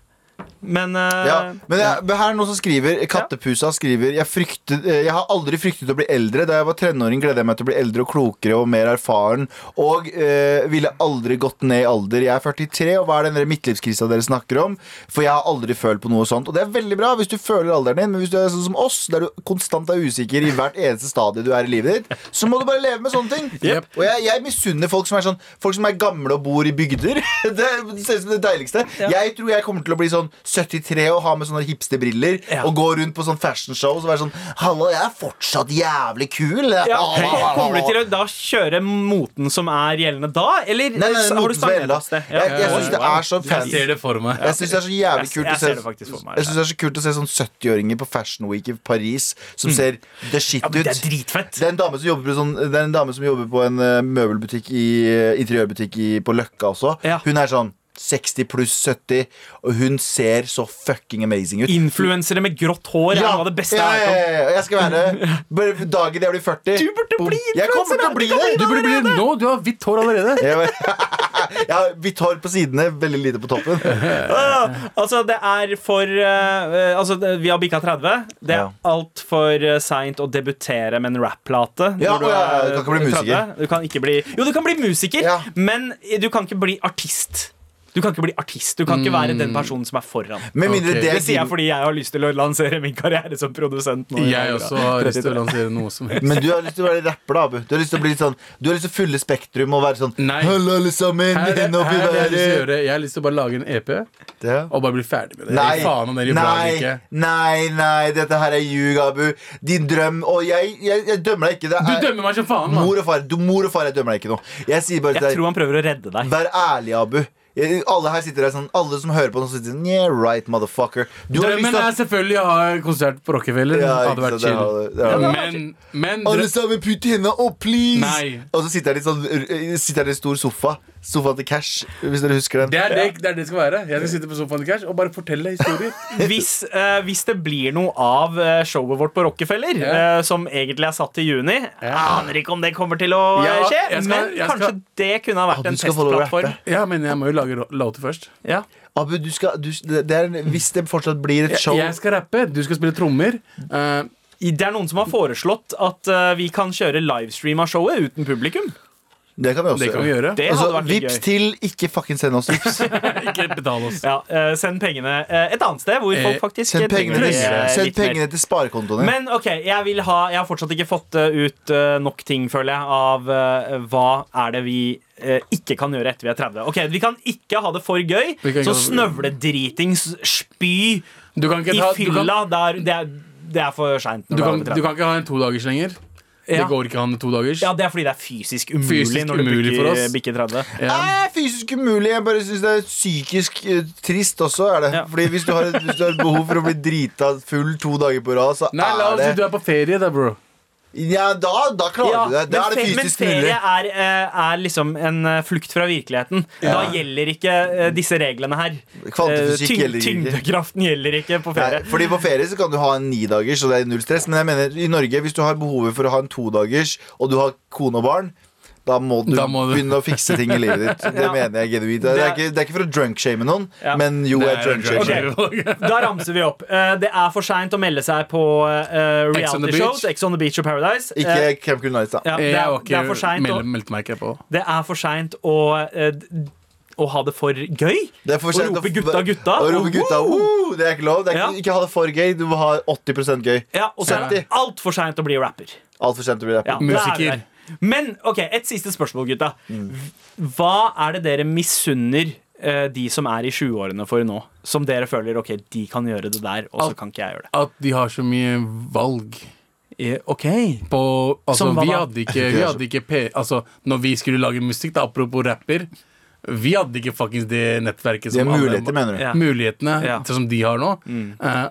B: Men eh,
C: Ja, men jeg, men her er noen som skriver Kattepusa skriver jeg, fryktet, eh, jeg har aldri fryktet å bli eldre Da jeg var tenåring gledet jeg meg til å bli eldre og klokere Og mer erfaren Og eh, ville aldri gått ned i alder Jeg er 43, og hva er den der midtlivskrisa dere snakker om? For jeg har aldri følt på noe sånt Og det er veldig bra hvis du føler alderen din Men hvis du er sånn som oss, der du konstant er usikker I hvert eneste stadie du er i livet ditt Så må du bare leve med sånne ting
D: Jep.
C: Og jeg, jeg misunner folk som er sånn Folk som er gamle og bor i bygder Det ser ut som det deiligste Jeg tror jeg kommer til å bli sånn 73 Og ha med sånne hipsterbriller
B: Ja.
C: Og gå rundt på sånn fashion show Og så være sånn Hallo, jeg er fortsatt jævlig kul
B: ja, Kommer du til å da kjøre moten som er gjeldende da, eller
C: Nei, nei, nei,
B: eh, har du
C: moten som er
B: stanget
C: gjeldende.
B: et sted?
C: Jeg, jeg synes det er så
D: Jeg
C: fancy
D: ser det for meg.
C: Jeg synes det er så jævlig
B: Jeg-
C: kult
B: jeg
C: å se
B: ser det faktisk for meg,
C: Jeg synes det er så kult å se sånn 70-åringer på Fashion Week i Paris Som ser the shit
B: Mm. Ja,
C: ut
B: men det er dritfett.
C: Det er en dame som jobber på, sånn, det er en, dame som jobber på en eh, møbelbutikk i, eh, interiørbutikk i, på Løkka også.
B: Ja.
C: Hun er sånn 60 pluss 70, og hun ser så fucking amazing ut.
B: Influensere med grått hår er noe av det beste
C: ja,
B: jeg har
C: ja,
B: hørt om.
C: ja, ja. Jeg skal være bare dagen jeg blir 40.
B: Du burde bli
C: Jeg kommer til å bli det!
D: Du burde bli nå. Du har hvitt hår allerede.
C: Jeg, Jeg har hvitt hår på sidene, veldig lite på toppen.
B: Ah, altså, det er for eh, eh, Altså, det, vi har bikka 30. Det er
C: Ja.
B: altfor uh, seint å debutere med en rapplate.
C: Ja,
B: når du
C: å ja, ja,
B: er
C: du kan ikke
B: 30.
C: bli musiker.
B: Du kan ikke bli, jo, du kan bli musiker,
C: Ja.
B: men du kan ikke bli artist. Du kan ikke bli artist. Du kan ikke være
C: Mm.
B: den personen som er foran.
C: Med mindre
D: Ok.
C: det
B: Det
C: er
B: sier jeg
C: din
B: fordi jeg har lyst til å lansere min karriere som produsent. nå.
D: Jeg også har lyst til å lansere noe som helst.
C: men du har lyst til å være rapper, da, Abu. Du har lyst til å bli litt sånn Du har lyst til å fylle Spektrum og være sånn
D: Nei.
C: Hallo, alle sammen.
D: Her, er-
C: nå
D: her
C: blir
D: er det jeg har lyst til å
C: det-
D: gjøre Jeg har lyst til å bare lage en EP og
C: Ja.
D: bare bli ferdig med det.
C: Nei,
D: Gi faen om dere gjør bra eller
C: nei,
D: ikke.
C: nei, nei, dette her er ljug, Abu. Din drøm Og jeg, jeg, jeg dømmer deg ikke. Det
D: Du
C: er,
D: dømmer meg som faen, mann!
C: mor og far, du, mor og far, jeg dømmer deg ikke nå. Jeg sier bare til
B: Jeg tror
C: deg
B: han prøver å redde deg.
C: Vær ærlig, Abu. Jeg- Alle her sitter der sånn Alle som hører på nå, sitter sånn Yeah, right, motherfucker. Du har lyst
D: Drømmen
C: til
D: er
C: at-
D: selvfølgelig å ha konsert på Rockefeller.
C: Ja,
D: hadde
C: ikke
D: vært
C: sant, det
D: chill.
C: hadde- det hadde-
D: men men
C: Alle
D: drø-
C: sammen, putt hendene opp, please!
D: Nei.
C: Og så sitter jeg litt sånn Sitter jeg i en stor sofa. Sofaen til Cash, hvis dere husker den.
D: det er det, det er det det skal være. Jeg skal sitte på sofaen i cash og bare fortelle historier.
B: hvis, eh, hvis det blir noe av eh, showet vårt på Rockefeller,
D: Ja.
B: eh, som egentlig er satt til juni Jeg
D: Ja.
B: aner ikke om det kommer til å eh,
D: Ja,
B: skje,
D: jeg skal-
B: men
D: jeg
B: kanskje
D: skal-
B: det kunne ha vært
C: du
B: en
C: skal få lov å rappe.
B: testplattform.
D: Ja, men jeg må jo lage ro- låter først.
B: Ja.
C: Abu, du skal du, det er, en- Hvis det fortsatt blir et
D: Jeg,
C: show
D: jeg skal rappe, du skal spille trommer. Eh,
B: I- Det er noen som har foreslått at eh, vi kan kjøre livestream av showet uten publikum.
C: Det kan vi også
D: det kan vi gjøre.
B: Det
C: Altså,
B: hadde vært litt
C: vips
B: gøy.
C: til ikke fucking send oss vips.
D: Ikke betal oss.
B: Ja, eh, send pengene eh, et annet sted, hvor
D: Eh,
B: folk faktisk
C: Send
B: trenger
C: pengene til,
B: eh,
C: send
B: litt mer.
C: pengene til sparekontoene.
B: Men ok, jeg vil ha Jeg har fortsatt ikke fått eh, ut eh, nok ting, føler jeg, av eh, hva er det vi eh, ikke kan gjøre etter vi er 30. Ok, Vi kan ikke ha det for gøy,
D: Vi kan ikke
B: så
D: ha
B: snøvledritings, spy
D: Du kan ikke,
B: i
D: ta, du kan,
B: fylla der, det, er, det er for seint.
D: du kan, du kan ikke ha en todagers lenger. Det
B: Ja.
D: går ikke an med todagers.
B: Ja, det er fordi det er fysisk umulig
D: Fysisk
B: når du
D: umulig for
B: bikker, eh,
D: oss.
B: bikker 30.
D: Ja.
C: Nei, fysisk umulig. Jeg bare syns det er psykisk eh, trist også. er det
B: Ja.
C: Fordi hvis du, har et, hvis du har et behov for å bli drita full to dager på rad, så
D: Nei, la oss si
C: er
D: du
C: det
D: er på ferie, da, bro.
C: Ja, da, da klarer
B: Ja,
C: du det. Da
B: men
C: er det
B: fe- men
C: fysisk mulig.
B: ferie er, eh, er liksom en eh, flukt fra virkeligheten. Da gjelder ikke eh, disse reglene her.
C: Kvantefysikk
B: Eh,
C: gjelder ikke.
B: Tyngdekraften gjelder ikke på
C: Nei,
B: ferie.
C: fordi På ferie så kan du ha en nidager, så det er null stress. Men jeg mener, i Norge, hvis du har behovet for å ha en todagers, og du har kone og barn, da må du,
D: Da må du-
C: begynne å fikse ting i livet ditt. Det
B: Ja.
C: mener jeg genuint. Det, er
B: Det er-
C: ikke- det er ikke for å drunkshame noen,
B: Ja.
C: men jo, jeg
B: drunk
C: drunkshamer.
B: shame. Da ramser vi opp. Eh, det er for seint å melde seg på eh,
D: Ex on the
B: reality shows.
D: beach.
B: Ex on the beach og Paradise. Eh,
C: Ikke Camp Cool Nights, da.
B: ja, det,
D: Jeg
B: er,
D: var
B: det er for
D: ikke
B: seint å,
D: meld, meldte meg ikke på.
B: det er for sent å, eh, d- å ha det for gøy.
C: Det er for
B: Å
C: sent
B: rope gutta, gutta.
C: Å rope gutta woo! Det er ikke lov. Det er ikke,
B: Ja.
C: ikke ha det for gøy. Du må ha 80 gøy.
B: Ja, Og så er det
C: 70.
B: altfor seint å bli rapper.
C: Altfor sent å bli
B: Ja, der er
C: rapper.
D: Musiker.
B: vi der. Men ok, et siste spørsmål, gutta. Hva er det dere misunner eh, de som er i 20-årene for nå? Som dere føler ok, de kan gjøre det der, og
D: Alt.
B: så kan ikke jeg gjøre det.
D: At de har så mye valg.
B: Eh, Ok
D: På, altså,
B: Som hva
D: vi
B: da?
D: hadde ikke, vi hadde ikke P, altså, Når vi skulle lage musikk, da, apropos rapper Vi hadde ikke fuckings det nettverket
C: Det er
D: som alle-
C: muligheter, mener du. Mm.
B: Ja.
D: mulighetene
B: Ja.
D: sånn som de har nå. Eh,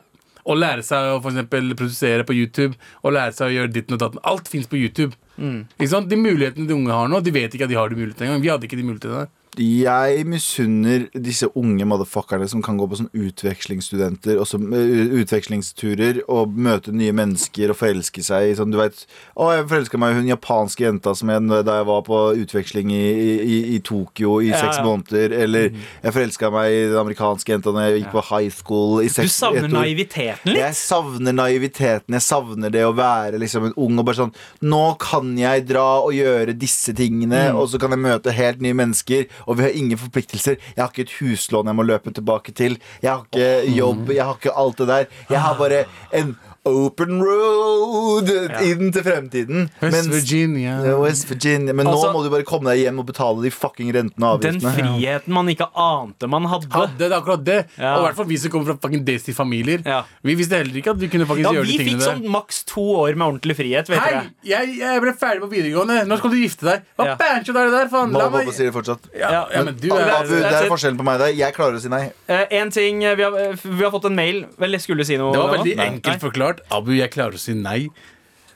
D: å lære seg å for eksempel produsere på YouTube og lære seg å gjøre ditten og datten. Alt fins på YouTube.
C: Mm.
D: Ikke sant? De mulighetene de unge har nå, de vet ikke at de har de mulighetene engang. Vi hadde ikke de mulighetene.
C: Jeg misunner disse unge motherfuckerne som kan gå på sånn utvekslingsstudenter og som, eh, utvekslingsturer og møte nye mennesker og forelske seg i sånn, du vet Å, jeg forelska meg i hun japanske jenta som jeg, da jeg var på utveksling i, i, i Tokyo i
B: Ja, Mm.
C: seks
B: ja.
C: måneder. Eller jeg forelska meg i den amerikanske jenta når jeg gikk på high school i
B: Du
C: seks
B: savner
C: ett år.
B: naiviteten litt?
C: Jeg savner naiviteten. Jeg savner det å være liksom en ung og bare sånn Nå kan jeg dra og gjøre disse tingene,
D: Mm.
C: og så kan jeg møte helt nye mennesker, og vi har ingen forpliktelser. Jeg har ikke et huslån jeg må løpe tilbake til. Jeg har ikke jobb. Jeg har ikke alt det der. Jeg har bare en open road inn til fremtiden.
D: West
C: Mens-
D: Virginia.
C: Ja, West Virginia. Men
B: Altså-
C: nå må du bare komme deg hjem og betale de fucking rentene og
B: Den
C: avgiftene.
B: friheten man ikke ante man hadde.
D: Hadde, det er akkurat det.
B: Ja.
D: Og i hvert fall vi som kommer fra fucking Desi-familier.
B: Ja.
D: Vi visste heller ikke at vi kunne faktisk
B: Ja,
D: gjøre
B: vi
D: de
B: fikk
D: tingene
B: sånn
D: der.
B: maks to år med ordentlig frihet. Vet
D: Hei,
B: dere.
D: jeg, jeg ble ferdig på videregående. Nå skal du gifte deg. Hva
B: Ja.
D: banjo er det der, faen?
C: Mamma
D: La
C: og
D: meg
C: pappa sier det fortsatt.
D: ja, ja, men du
C: Abu,
D: er
C: det
B: that's
C: er
B: it.
C: forskjellen på meg og deg. Jeg klarer å si nei.
B: Eh, en ting, eh, vi har, eh, vi har fått en mail. Vel, jeg skulle si noe.
D: Det var
B: nå.
D: veldig
B: Nei.
D: enkelt forklart. Abu, jeg klarer å si nei.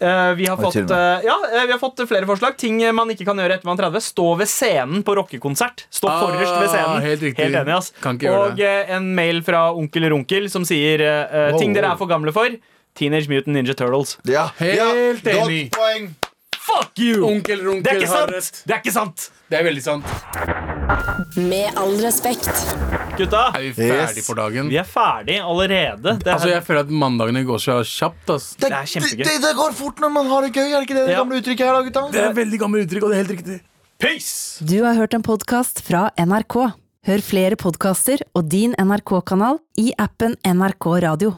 B: Eh, vi, har
C: Oi,
B: fått,
C: til og
B: eh, ja, eh, vi har fått flere forslag. Ting eh, man ikke kan gjøre etter man er 30. Stå ved scenen på rockekonsert. Stå
D: Ah,
B: forrest ved scenen.
D: helt riktig.
B: enig, ass.
D: Kan ikke gjøre
B: Og
D: det.
B: eh, en mail fra onkel Runkel som sier eh, eh,
C: Wow,
B: ting dere
C: wow.
B: er for gamle for. Teenage Mutant Ninja Turtles.
C: Ja,
D: Helt
C: ja.
D: enig.
C: Godt poeng.
B: Fuck you!
D: Onkel Runkel
B: det er ikke
D: har
B: sant!
D: rett.
B: Det er ikke sant!
D: Det er veldig sant.
G: Med all respekt.
B: Gutta,
D: Er vi ferdig
C: Yes.
D: for dagen?
B: vi er ferdig allerede. Det er,
D: Altså, jeg føler at mandagene går så kjapt. ass
C: Det,
B: er kjempegøy.
C: Det, det, det går fort når man har det gøy, er det ikke det det
B: Ja.
C: gamle uttrykket her, da, gutta?
D: Det er et veldig gammelt uttrykk, og det er helt riktig.
B: Peace!
A: Du har hørt en podkast fra NRK. Hør flere podkaster og din NRK-kanal i appen NRK Radio.